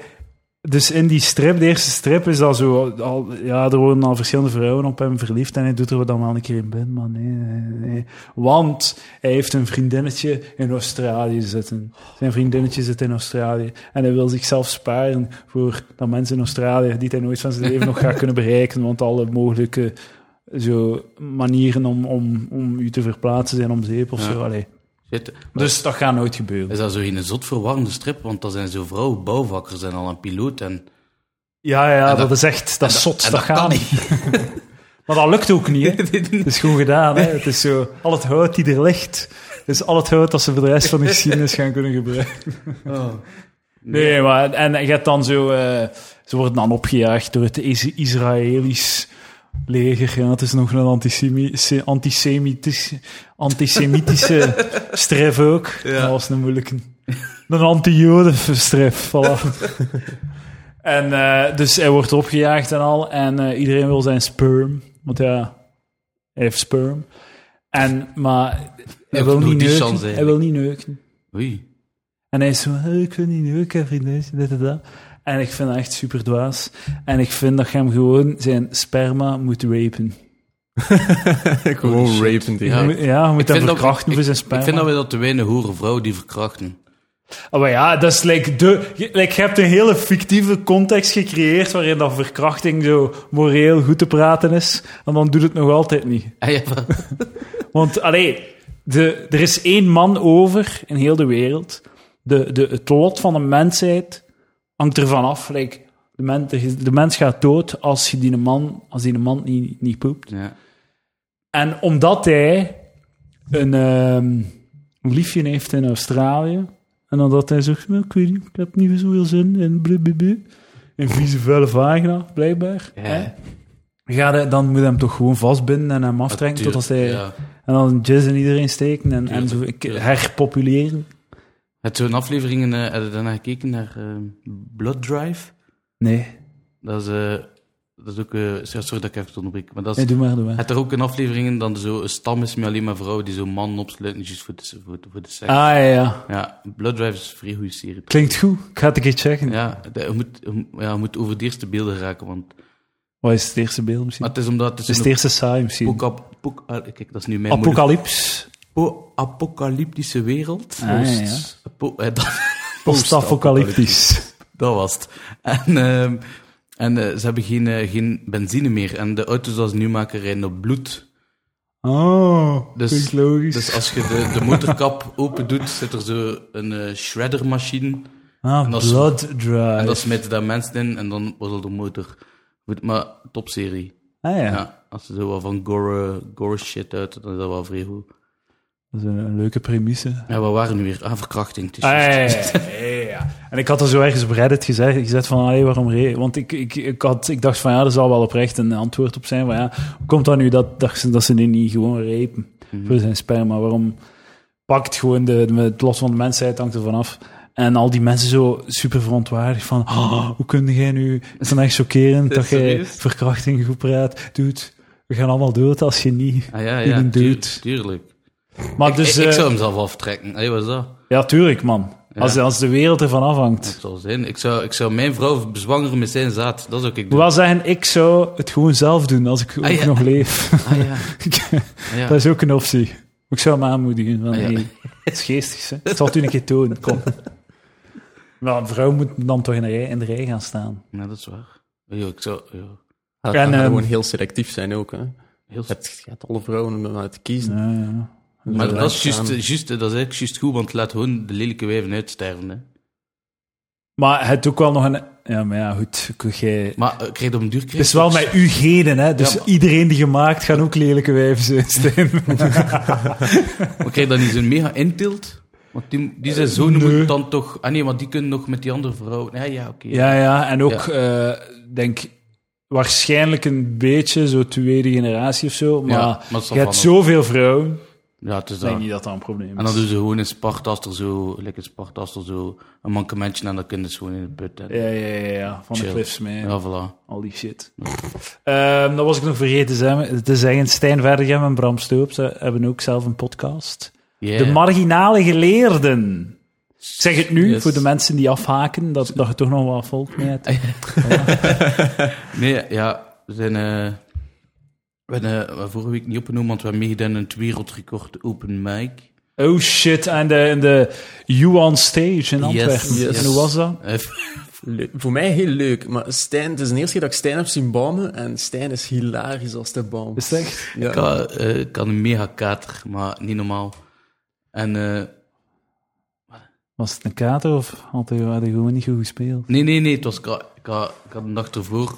Speaker 1: dus in die strip, de eerste strip, is dat zo... Al, ja, er worden al verschillende vrouwen op hem verliefd en hij doet er dan wel een keer in bed, maar nee, nee, nee. Want hij heeft een vriendinnetje in Australië zitten. Zijn vriendinnetje zit in Australië. En hij wil zichzelf sparen voor dat mensen in Australië, die hij nooit van zijn leven nog gaat kunnen bereiken, want alle mogelijke... Zo manieren om, om, om u te verplaatsen zijn om zeep of
Speaker 2: Ja.
Speaker 1: zo. Allee.
Speaker 2: Shit.
Speaker 1: Dus dat gaat nooit gebeuren.
Speaker 2: Is dat zo geen zot verwarrende strip? Want dat zijn zo vrouwen bouwvakkers en al een piloot. En,
Speaker 1: Ja, ja,
Speaker 2: En
Speaker 1: dat,
Speaker 2: dat-
Speaker 1: is echt, dat is
Speaker 2: en
Speaker 1: zot, dat,
Speaker 2: en
Speaker 1: gaat
Speaker 2: kan
Speaker 1: niet. [LAUGHS] Maar dat lukt ook niet, hè. Het is goed gedaan, hè. Het is zo, al het hout die er ligt, is al het hout dat ze voor de rest van de geschiedenis gaan kunnen gebruiken.
Speaker 2: [LAUGHS] Oh.
Speaker 1: Nee, maar, en je hebt dan zo, eh, ze worden dan opgejaagd door het Is- Israëlisch leger. Ja, het is nog een antisemi- se- antisemitisch, antisemitische stref ook. Dat was een moeilijke. Een anti-jodenstref, voilà. en eh, dus hij wordt opgejaagd en al. En eh, iedereen wil zijn sperm. Want ja, hij heeft sperm. En, maar hij
Speaker 2: Ook
Speaker 1: wil
Speaker 2: door
Speaker 1: niet
Speaker 2: die
Speaker 1: neuken.
Speaker 2: chance
Speaker 1: hij wil niet neuken.
Speaker 2: Oei.
Speaker 1: En hij is zo, "Hey, ik wil niet neuken, vriendinnetje, dit en dat. En ik vind dat echt super dwaas. En ik vind dat je hem gewoon zijn sperma moet rapen.
Speaker 3: Gewoon rapen die.
Speaker 2: Ja.
Speaker 3: Ja.
Speaker 1: Ja, ja je moet
Speaker 2: Ik
Speaker 1: hem
Speaker 2: vind dat-
Speaker 1: verkrachten
Speaker 2: ik-
Speaker 1: voor zijn sperma.
Speaker 2: Ik vind dat we dat te weinig horen, vrouwen die verkrachten. [LAUGHS]
Speaker 1: Oh, maar ja, dat is like de, je- like, je hebt een hele fictieve context gecreëerd waarin dat verkrachting zo moreel goed te praten is. En dan doet het nog altijd niet.
Speaker 2: Ah, ja, maar-
Speaker 1: Want alleen, de, er is één man over in heel de wereld. De, de, het lot van de mensheid hangt ervan af. Like, de, men, de, de mens gaat dood als je die man, als die man niet, niet poept.
Speaker 2: ja.
Speaker 1: En omdat hij een ehm, liefje heeft in Australië, en omdat hij zegt, "Nou, ik weet niet, ik heb niet zoveel zin in blablabla, een vieze vuile vagina, blijkbaar.
Speaker 2: Ja.
Speaker 1: hè, Ga hij- dan moet hij hem toch gewoon vastbinden en hem aftrekken totdat hij...
Speaker 2: Ja.
Speaker 1: En dan jazz in iedereen steken en, en
Speaker 2: Tuurlijk,
Speaker 1: zo ik-
Speaker 2: tuurlijk.
Speaker 1: herpopuleren.
Speaker 2: Het zo'n afleveringen eh hadden daarna gekeken naar eh, Blood Drive.
Speaker 1: Nee,
Speaker 2: Dat is, eh, dat is ook. eh, sorry dat ik even onderbreek. Maar dat is,
Speaker 1: nee doe maar, doe maar.
Speaker 2: het er ook een aflevering in dat zo een stam is met alleen maar vrouwen die zo mannen opsluiten juist voor de, voor, de- voor de seks.
Speaker 1: Ah ja, ja.
Speaker 2: Ja, Blood Drive is een vrij goede serie.
Speaker 1: Klinkt goed. Ik ga het een keer checken.
Speaker 2: Ja, de- je moet, je moet- ja, je moet over de eerste beelden raken. Want,
Speaker 1: Wat is het eerste beeld misschien?
Speaker 2: maar het is omdat het
Speaker 1: het
Speaker 2: is
Speaker 1: is het eerste saai misschien.
Speaker 2: een apocap- poc- ah, kijk, dat is nu mijn moeilijk-
Speaker 1: Apocalypse.
Speaker 2: po- apocalyptische wereld.
Speaker 1: Ah, ja, ja.
Speaker 2: Post- po- eh, [LAUGHS] dat,
Speaker 1: Post-apocalyptisch.
Speaker 2: dat was het. En, ehm, en eh, ze hebben geen, eh, geen benzine meer. En de auto's die ze nu maken rijden op bloed.
Speaker 1: Oh,
Speaker 2: Dus-
Speaker 1: dat is logisch.
Speaker 2: Dus als je de, de motorkap [LAUGHS] open doet, zit er zo een eh, shreddermachine.
Speaker 1: ah,
Speaker 2: en dat is-
Speaker 1: Blood Drive.
Speaker 2: En dat smijt daar mensen in en dan wordt de motor. Goed, maar topserie.
Speaker 1: ah ja,
Speaker 2: Ja. als ze zo wat van gore, gore shit uit, dan is dat wel vrij goed.
Speaker 1: dat is een, een leuke premisse. Ah,
Speaker 2: Ja, we waren nu weer aan verkrachting. het is
Speaker 1: ja,
Speaker 2: juist.
Speaker 1: ja, ja, ja, [LAUGHS] ja. En ik had er zo ergens op Reddit gezegd, gezet van, allee, waarom re- Want ik, ik, ik, had, ik dacht van, ja, er zal wel oprecht een antwoord op zijn. Maar ja, hoe komt dat nu dat, dat, ze, dat ze nu niet gewoon repen?
Speaker 2: Mhm.
Speaker 1: voor zijn sperma. Waarom pakt gewoon de, de- het los van de mensheid hangt ervan af. En al die mensen zo super verontwaardigd van, "Ah, hoe kun jij nu, het is dan echt
Speaker 2: [LAUGHS]
Speaker 1: chockerend dat jij
Speaker 2: Serieus?
Speaker 1: verkrachting goed praat, doet. We gaan allemaal dood als je niet.
Speaker 2: Ah ja,
Speaker 1: Die
Speaker 2: ja,
Speaker 1: een
Speaker 2: tuur-
Speaker 1: dude.
Speaker 2: tuurlijk.
Speaker 1: Maar dus,
Speaker 2: ik, ik
Speaker 1: eh,
Speaker 2: zou hem zelf aftrekken. Hé, wat is dat?
Speaker 1: ja, tuurlijk man. Als, als de wereld ervan afhangt.
Speaker 2: Dat zal zijn. Ik zou, ik zou mijn vrouw bezwangeren met zijn zaad. Dat zou ik doen.
Speaker 1: Hoewel zeggen, ik zou het gewoon zelf doen als ik ook
Speaker 2: ja.
Speaker 1: nog leef. [LAUGHS]
Speaker 2: Ah ja. Ah, ja.
Speaker 1: Dat is ook een optie. Ik zou hem aanmoedigen. Van,
Speaker 2: Ah, ja.
Speaker 1: hey, het is geestig, hè. Ik zal het u een keer tonen. Kom. [LAUGHS] Maar een vrouw moet dan toch in de rij, in de rij gaan staan.
Speaker 2: Nee, dat is waar. Ja, ik zou... Ja.
Speaker 3: Dat
Speaker 1: En,
Speaker 3: kan
Speaker 1: ehm,
Speaker 3: gewoon heel selectief zijn ook. Hè. Je
Speaker 2: Heel
Speaker 3: hebt, je hebt alle vrouwen om uit te kiezen.
Speaker 1: Ja, ja.
Speaker 2: Maar dat is,
Speaker 3: Inderdaad,
Speaker 2: juist, eh,
Speaker 3: ja.
Speaker 2: juist, dat is eigenlijk juist goed, want laat gewoon de lelijke wijven uitsterven. Hè.
Speaker 1: Maar het ook wel nog een... Ja, maar ja, goed. ik- Jij...
Speaker 2: Maar eh, krijg je op een duur...
Speaker 1: Het is wel met uw genen, hè. Dus
Speaker 2: Ja, maar-
Speaker 1: iedereen die gemaakt gaan ook lelijke wijven zijn, [LAUGHS] Stijn.
Speaker 2: [LAUGHS] Maar krijg je dan niet zo'n mega intilt? Want die, die zijn zonen
Speaker 1: Eh, nee.
Speaker 2: moeten dan toch... Ah nee, want die kunnen nog met die andere vrouw... Ja, ja, oké.
Speaker 1: Ja, ja. En ook, eh, denk... Waarschijnlijk een beetje zo tweede generatie of zo. Maar
Speaker 2: Ja, maar het is
Speaker 1: je hebt
Speaker 2: van-
Speaker 1: zoveel vrouwen.
Speaker 2: Ja, het is
Speaker 1: Ik denk
Speaker 2: dat.
Speaker 1: niet dat dat een probleem is.
Speaker 2: En dan dus- doen ze gewoon in Sparta, als er zo... Lekker Sparta, als er zo een mankementje en dan kunnen ze gewoon in de put. Hè.
Speaker 1: Ja, ja, ja, ja. Van de
Speaker 2: Chill.
Speaker 1: cliffs mee.
Speaker 2: Ja, voilà.
Speaker 1: Al die shit. Ehm, dat was ik nog vergeten te zeggen. te zeggen. Stijn Verdegem en Bram Stoops eh, hebben ook zelf een podcast.
Speaker 2: Yeah.
Speaker 1: De marginale geleerden. Ik zeg het nu
Speaker 3: Yes.
Speaker 1: voor de mensen die afhaken, dat, dat je toch nog wel volk mee hebt.
Speaker 2: Nee, ja, we zijn... eh, we hebben eh, vorige week niet opgenomen, want we hebben meegedaan aan het wereldrecord open mic.
Speaker 1: Oh shit, en de, en de Yuan Stage in Antwerpen.
Speaker 2: yes.
Speaker 1: En hoe was dat?
Speaker 2: Eh, [LAUGHS]
Speaker 3: Leuk. Voor mij heel leuk, maar Stijn, het is de eerste keer dat ik Stijn heb zien bouwen en Stijn is hilarisch als de boom.
Speaker 1: Is het echt?
Speaker 3: Ja.
Speaker 2: Ik had, eh, ik had een mega kater, maar niet normaal. En eh,
Speaker 1: Was het een kater of had hij had hij gewoon niet goed gespeeld?
Speaker 2: nee, nee, nee, het was, ik, had, ik, had, ik had een dag ervoor,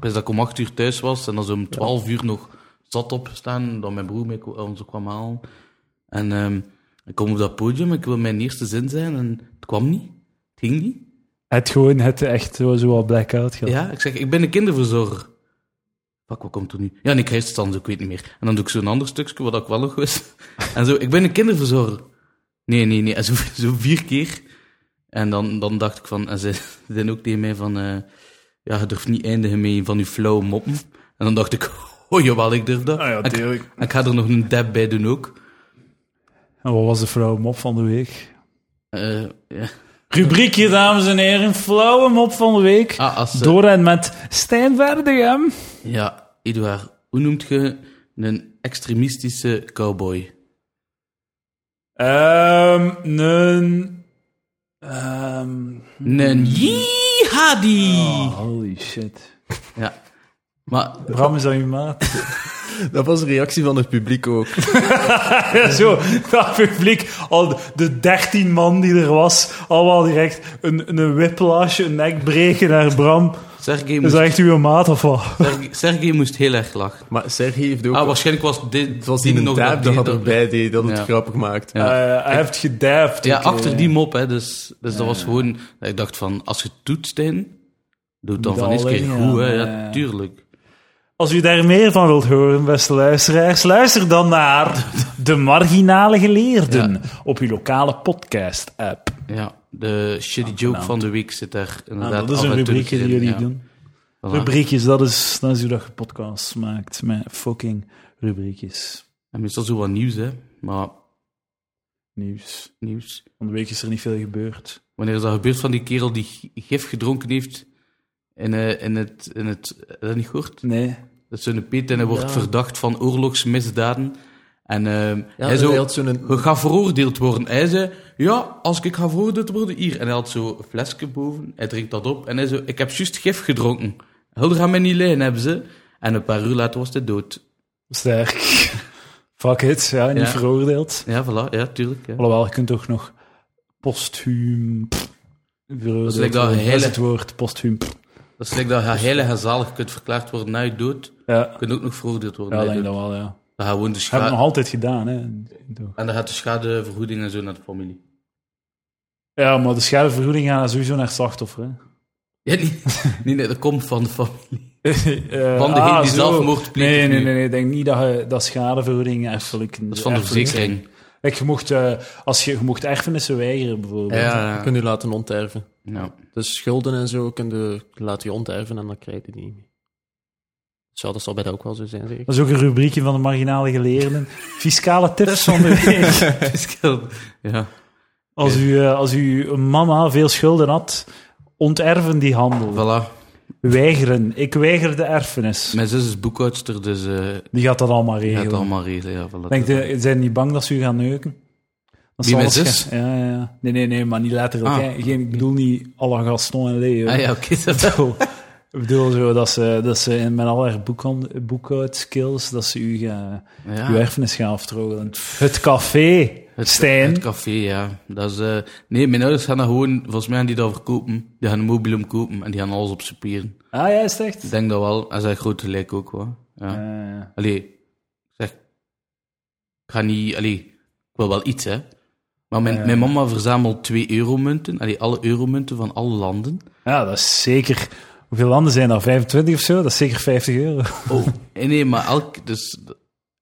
Speaker 2: best dat ik om 8 uur thuis was en dan zo om 12 uur nog zat opstaan, dat mijn broer mij, ko- ons kwam halen. En ehm, ik kom op dat podium, ik wil mijn eerste zin zijn en het kwam niet, het ging niet.
Speaker 1: Het gewoon, het echt zo, zo al blackout gehad.
Speaker 2: Ja, ik zeg, ik ben een kinderverzorger. Fuck, wat komt er nu? Ja, en ik reis het dan, zo, ik weet niet meer. En dan doe ik zo'n ander stukje, wat ik wel nog
Speaker 1: [LAUGHS]
Speaker 2: wist. En zo, ik ben een kinderverzorger. Nee, nee, nee. En zo, [LAUGHS] zo vier keer. En dan, dan dacht ik van, en ze ze zijn ook tegen mij van, eh, ja, je durft niet eindigen mee van je flauwe moppen. En dan dacht ik, [LAUGHS] oh jawel, ik durf dat.
Speaker 1: Ah ja,
Speaker 2: En ik,
Speaker 1: tuurlijk.
Speaker 2: en ik ga er nog een dab bij doen ook.
Speaker 1: En wat was de vrouw mop van de week?
Speaker 2: Eh, ja.
Speaker 1: Rubriekje, dames en heren. Flauwe mop van de week.
Speaker 2: Ah, als, eh,
Speaker 1: Door en met Stijn Verdegem.
Speaker 2: ja, Eduard, hoe noemt je een extremistische cowboy?
Speaker 1: Ehm, een... ehm,
Speaker 2: Een jihadi!
Speaker 1: Oh, holy shit.
Speaker 2: Ja. Maar
Speaker 1: Bram is aan je [LAUGHS] maat.
Speaker 3: Dat was de reactie van het publiek ook.
Speaker 1: Zo, dat publiek, al de- de dertien man die er was, allemaal direct een, een whiplash, een nek breken naar Bram.
Speaker 2: Sergej
Speaker 1: Is
Speaker 2: moest,
Speaker 1: dat echt uw maat of wat?
Speaker 2: Sergej, Sergej moest heel erg lachen.
Speaker 3: Maar Sergi heeft ook...
Speaker 2: Ah, waarschijnlijk was dit
Speaker 3: het was die een dab dat
Speaker 2: die-
Speaker 3: erbij deed dat het
Speaker 2: Ja.
Speaker 3: grappig maakt.
Speaker 2: Ja.
Speaker 1: Eh, hij heeft eh, gedaafd.
Speaker 2: Ja,
Speaker 1: Oké.
Speaker 2: achter die mop, hè. Dus, dus dat was gewoon... dat Ik dacht van, als je het doet, Stijn, doe het dan
Speaker 1: Doe
Speaker 2: van
Speaker 1: dat
Speaker 2: eerst keer
Speaker 1: alleen,
Speaker 2: goed, hè.
Speaker 1: ja.
Speaker 2: Ja, tuurlijk.
Speaker 1: Als u daar meer van wilt horen, beste luisteraars, luister dan naar De Marginale Geleerden op uw lokale podcast-app.
Speaker 2: Ja, de shitty joke van de week zit daar
Speaker 1: Nou,
Speaker 2: inderdaad
Speaker 1: dat is
Speaker 2: af
Speaker 1: een
Speaker 2: en toe
Speaker 1: rubriekje die
Speaker 2: in,
Speaker 1: jullie
Speaker 2: ja.
Speaker 1: doen.
Speaker 2: Voilà.
Speaker 1: Rubriekjes, dat is, dat is hoe dat je podcasts maakt, met fucking rubriekjes.
Speaker 2: En meestal zo wat nieuws, hè. Maar
Speaker 1: Nieuws.
Speaker 2: nieuws...
Speaker 1: Van de week is er niet veel gebeurd.
Speaker 2: Wanneer is dat gebeurd van die kerel die g- gif gedronken heeft in, eh, in het... In het heb je dat niet gehoord?
Speaker 1: Nee.
Speaker 2: Dat is zo'n Piet en hij wordt
Speaker 3: Ja.
Speaker 2: verdacht van oorlogsmisdaden. En ehm,
Speaker 3: Ja,
Speaker 2: hij
Speaker 3: en
Speaker 2: zo,
Speaker 3: hij had zo'n-
Speaker 2: "Je gaat veroordeeld worden. Hij zei, ja, als ik ga veroordeeld worden, hier. En hij had zo een flesje boven, hij drinkt dat op. En hij zo, ik heb juist gif gedronken. Hulder gaan mij niet leen, hebben ze. En een paar uur later was hij dood.
Speaker 1: Sterk. Fuck it, ja, niet
Speaker 2: Ja.
Speaker 1: veroordeeld.
Speaker 2: Ja, voilà, ja, tuurlijk. Ja.
Speaker 1: Alhoewel, je kunt toch nog posthuum... pff, veroordeeld
Speaker 2: lijkt dat
Speaker 1: worden.
Speaker 2: een
Speaker 1: is
Speaker 2: hele-
Speaker 1: het woord, posthuum. pff.
Speaker 2: Dat is gelijk dat je heilig en zalig kunt verklaard worden na je dood.
Speaker 1: Ja,
Speaker 2: Je kunt ook nog veroordeeld worden
Speaker 1: ja
Speaker 2: na
Speaker 1: denk
Speaker 2: je
Speaker 1: ik
Speaker 2: dood.
Speaker 1: dat wel, ja.
Speaker 2: Dan gaat gewoon de
Speaker 1: Ik heb het nog
Speaker 2: schade...
Speaker 1: altijd gedaan, hè. Toch.
Speaker 2: En dan gaat de schadevergoeding en zo naar de familie.
Speaker 1: Ja, maar de schadevergoeding gaat sowieso naar het slachtoffer, hè.
Speaker 2: Ja, nee, [LAUGHS] nee, nee, dat komt van de familie.
Speaker 1: Eh,
Speaker 2: Van degene die
Speaker 1: zo.
Speaker 2: zelfmoord pleegt
Speaker 1: Nee, nee,
Speaker 2: nu.
Speaker 1: nee, nee. Ik denk niet dat, je, dat eh, schadevergoeding erfelijk...
Speaker 2: Dat is van de verzekering.
Speaker 1: Like, je mocht, eh, als je, je mocht erfenissen weigeren, bijvoorbeeld.
Speaker 2: Ja, ja.
Speaker 3: Kun je laten onterven.
Speaker 2: ja.
Speaker 3: Dus schulden en zo kun je laten je onterven en dan krijg je die niet meer. Zou dat zal bij dat ook wel zo zijn, zeker?
Speaker 1: Dat is ook een rubriekje van de marginale
Speaker 2: [LAUGHS]
Speaker 1: geleerden. Fiscale tips van de [LAUGHS] week.
Speaker 2: ja.
Speaker 1: Als, u, eh, als uw mama veel schulden had, onterven die handel.
Speaker 2: Voilà.
Speaker 1: Weigeren. Ik weiger de erfenis.
Speaker 2: Mijn zus is boekhoudster, dus eh
Speaker 1: Die gaat dat allemaal
Speaker 2: die
Speaker 1: regelen.
Speaker 2: gaat het allemaal regelen. Ja, voilà.
Speaker 1: Denk je, zijn die bang dat ze u gaan neuken? Dat
Speaker 2: Wie,
Speaker 1: zal
Speaker 2: mijn
Speaker 1: waarsch- Ja, ja, ja. Nee, nee, nee, maar niet letterlijk.
Speaker 2: Ah.
Speaker 1: hè. Geen, ik bedoel niet alle Gaston en Leo.
Speaker 2: Ah
Speaker 1: [LAUGHS]
Speaker 2: ja, oké. dat-
Speaker 1: Zo. Ik bedoel zo dat ze, dat ze in- met al haar boekhan- boekhoudskills, dat ze u gaan, uw
Speaker 2: ja.
Speaker 1: erfenis gaan aftroggelen. Het café,
Speaker 2: Ah. Het,
Speaker 1: Stijn.
Speaker 2: het café, ja. Dat is, eh, nee, mijn ouders gaan dat gewoon, volgens mij gaan die dat verkopen. Die gaan een mobielum kopen en die gaan alles op spieren.
Speaker 1: ah ja, is het echt?
Speaker 2: Ik denk dat wel. En zij heeft groot gelijk ook, hoor. Ja.
Speaker 1: Eh,
Speaker 2: Allee, ik zeg, ik ga niet, allee, ik wil wel iets, hè. Maar mijn,
Speaker 1: Ja.
Speaker 2: mijn mama verzamelt twee euromunten, allee, alle euromunten van alle landen.
Speaker 1: ja, dat is zeker... Hoeveel landen zijn er? 25 of zo? Dat is zeker 50 euro. [LAUGHS]
Speaker 2: Oh, nee, nee, maar elk, dus,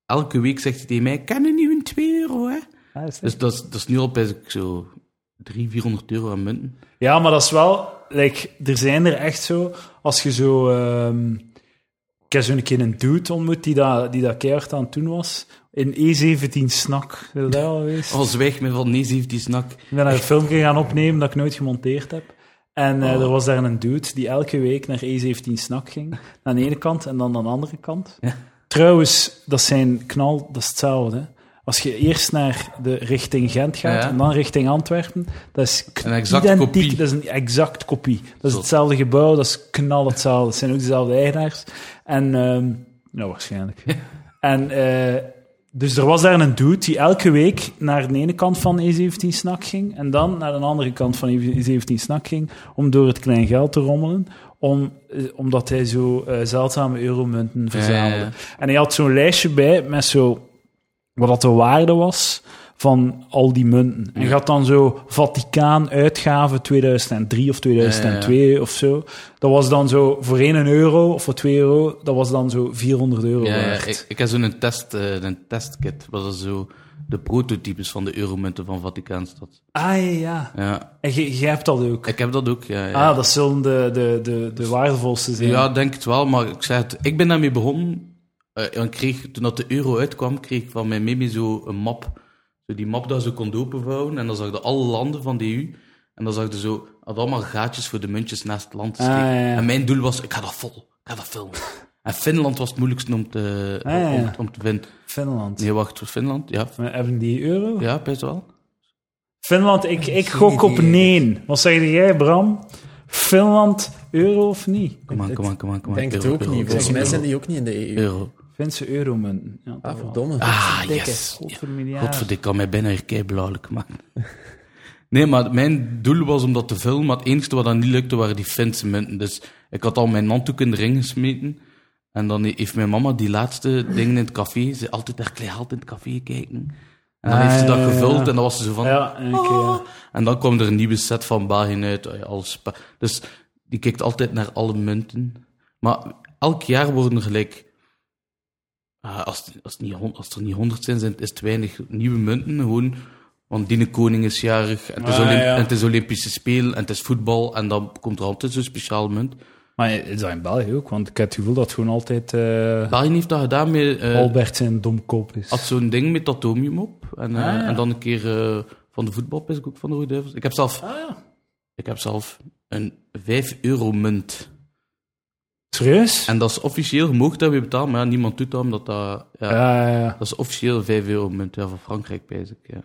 Speaker 2: elke week zegt hij tegen mij, kan je niet een 2 euro, hè?
Speaker 1: Ah, is het echt?
Speaker 2: Dus dat is, dat is nu al best zo 300, 400 euro aan munten.
Speaker 1: Ja, maar dat is wel... Like, er zijn er echt zo... Als je zo... ehm, ik heb zo'n keer een dude ontmoet die dat, die dat keihard aan het doen was. In E17 Snak. Is dat daar al geweest?
Speaker 2: Al zwijg me van, nee, ze heeft die snak.
Speaker 1: Ik ben daar een filmpje gaan opnemen dat ik nooit gemonteerd heb. En eh,
Speaker 2: Oh.
Speaker 1: er was daar een dude die elke week naar E17 Snak ging. Aan de ene kant en dan aan de andere kant.
Speaker 2: Ja.
Speaker 1: Trouwens, dat zijn knal, dat is hetzelfde. hè. Als je eerst naar de richting Gent gaat
Speaker 2: Ja.
Speaker 1: en dan richting Antwerpen, dat is k-
Speaker 2: Een exact
Speaker 1: identiek.
Speaker 2: kopie.
Speaker 1: Dat is een exact kopie. Dat is
Speaker 2: Zot.
Speaker 1: hetzelfde gebouw, dat is knal hetzelfde. Het zijn ook dezelfde eigenaars. En, ehm nou, waarschijnlijk. En eh, dus er was daar een dude die elke week naar de ene kant van E17 Snak ging en dan naar de andere kant van E17 Snak ging om door het klein geld te rommelen, om, eh, omdat hij zo eh, zeldzame euromunten verzamelde.
Speaker 2: Ja, ja, ja.
Speaker 1: En hij had zo'n lijstje bij met zo wat dat de waarde was van al die munten. En je had dan zo Vaticaan uitgave 2003 of 2002 of zo. Dat was dan zo voor 1 euro of voor 2 euro, dat was dan zo 400 euro
Speaker 2: Ja, ja,
Speaker 1: waard.
Speaker 2: ik, ik heb zo'n test, eh, een testkit, was dat zo de prototypes van de euromunten van Vaticaanstad.
Speaker 1: Ah ja, ja.
Speaker 2: Ja,
Speaker 1: En je, je hebt dat ook.
Speaker 2: ik heb dat ook, ja. ja.
Speaker 1: Ah, dat zullen de, de, de, de waardevolste zijn.
Speaker 2: Ja, ik denk het wel, maar ik zeg het, ik ben daarmee begonnen. Eh, en ik kreeg, toen dat de euro uitkwam, kreeg ik van mijn mimi zo een map. Zo die map dat ze kon openvouwen. En dan zag je alle landen van de EU. En dan zag je zo, had allemaal gaatjes voor de muntjes naast het land te
Speaker 1: Ah,
Speaker 2: steken.
Speaker 1: ja, ja.
Speaker 2: En mijn doel was, ik ga dat vol, ik ga dat
Speaker 3: [LAUGHS]
Speaker 2: filmen. en Finland was het moeilijkste om te,
Speaker 1: Ah, ja, ja.
Speaker 2: Om, om te vinden.
Speaker 1: Finland.
Speaker 2: Nee, wacht, Finland? Ja,
Speaker 1: We Hebben die euro?
Speaker 2: ja best wel.
Speaker 1: Finland, ik, ik
Speaker 3: Geen
Speaker 1: gok op
Speaker 3: idee.
Speaker 1: nee. Wat zeg jij, Bram? Finland, euro of niet?
Speaker 2: Kom aan, kom aan, kom aan. Kom
Speaker 3: Ik
Speaker 2: aan.
Speaker 3: denk het
Speaker 2: Euro,
Speaker 3: ook
Speaker 2: euro,
Speaker 3: niet.
Speaker 2: euro,
Speaker 3: Volgens mij
Speaker 2: euro,
Speaker 3: zijn die ook niet in de EU.
Speaker 2: Euro.
Speaker 1: Finse euromunten. Ja,
Speaker 3: Ah,
Speaker 1: toch wel.
Speaker 3: verdomme.
Speaker 2: Ah,
Speaker 1: Dikke,
Speaker 2: yes.
Speaker 1: godvermiljaard.
Speaker 2: Godverdikke, ik kan mij bijna hier blauwelijk maken. [LAUGHS] Nee, maar mijn doel was om dat te filmen, maar het enige wat dan niet lukte waren die Finse munten. Dus ik had al mijn handdoek in de ring gesmeten. En dan heeft mijn mama die laatste dingen in het café, ze altijd daar klein geld in het café kijken. En dan
Speaker 1: Ah,
Speaker 2: heeft ze dat
Speaker 1: ja, ja,
Speaker 2: gevuld
Speaker 1: ja.
Speaker 2: en dan was ze zo van...
Speaker 1: Ja, eh, oké.
Speaker 2: "Ah."
Speaker 1: ja.
Speaker 2: En dan kwam er een nieuwe set van België uit. eh, Alles. spa- Dus die kijkt altijd naar alle munten. Maar elk jaar worden er gelijk... ah, als, als, het niet, hon- als er niet honderd zijn, zijn het- is het weinig nieuwe munten. Gewoon, want die koning is jarig. En het is,
Speaker 1: Ah,
Speaker 2: Olymp-
Speaker 1: ja.
Speaker 2: en het is Olympische Spelen. En het is voetbal. En dan komt er altijd zo'n speciaal munt.
Speaker 1: Maar is dat in België ook? Want ik heb het gevoel dat het gewoon altijd eh,
Speaker 2: België heeft dat gedaan met... eh,
Speaker 1: Albert zijn domkop is.
Speaker 2: had zo'n ding met dat atomium op. En, eh,
Speaker 1: Ah, ja.
Speaker 2: en dan een keer eh, van de voetbalpis ook van de Rode Duivels. Ik heb zelf...
Speaker 1: Ah, ja.
Speaker 2: Ik heb zelf een 5 euro munt.
Speaker 1: Serieus?
Speaker 2: En dat is officieel, je mag dat weer betalen, maar ja, niemand doet dat, omdat dat... Ja,
Speaker 1: Ja, ja, ja.
Speaker 2: Dat is officieel 5 euro munt, ja, van Frankrijk, pijs ik, ja.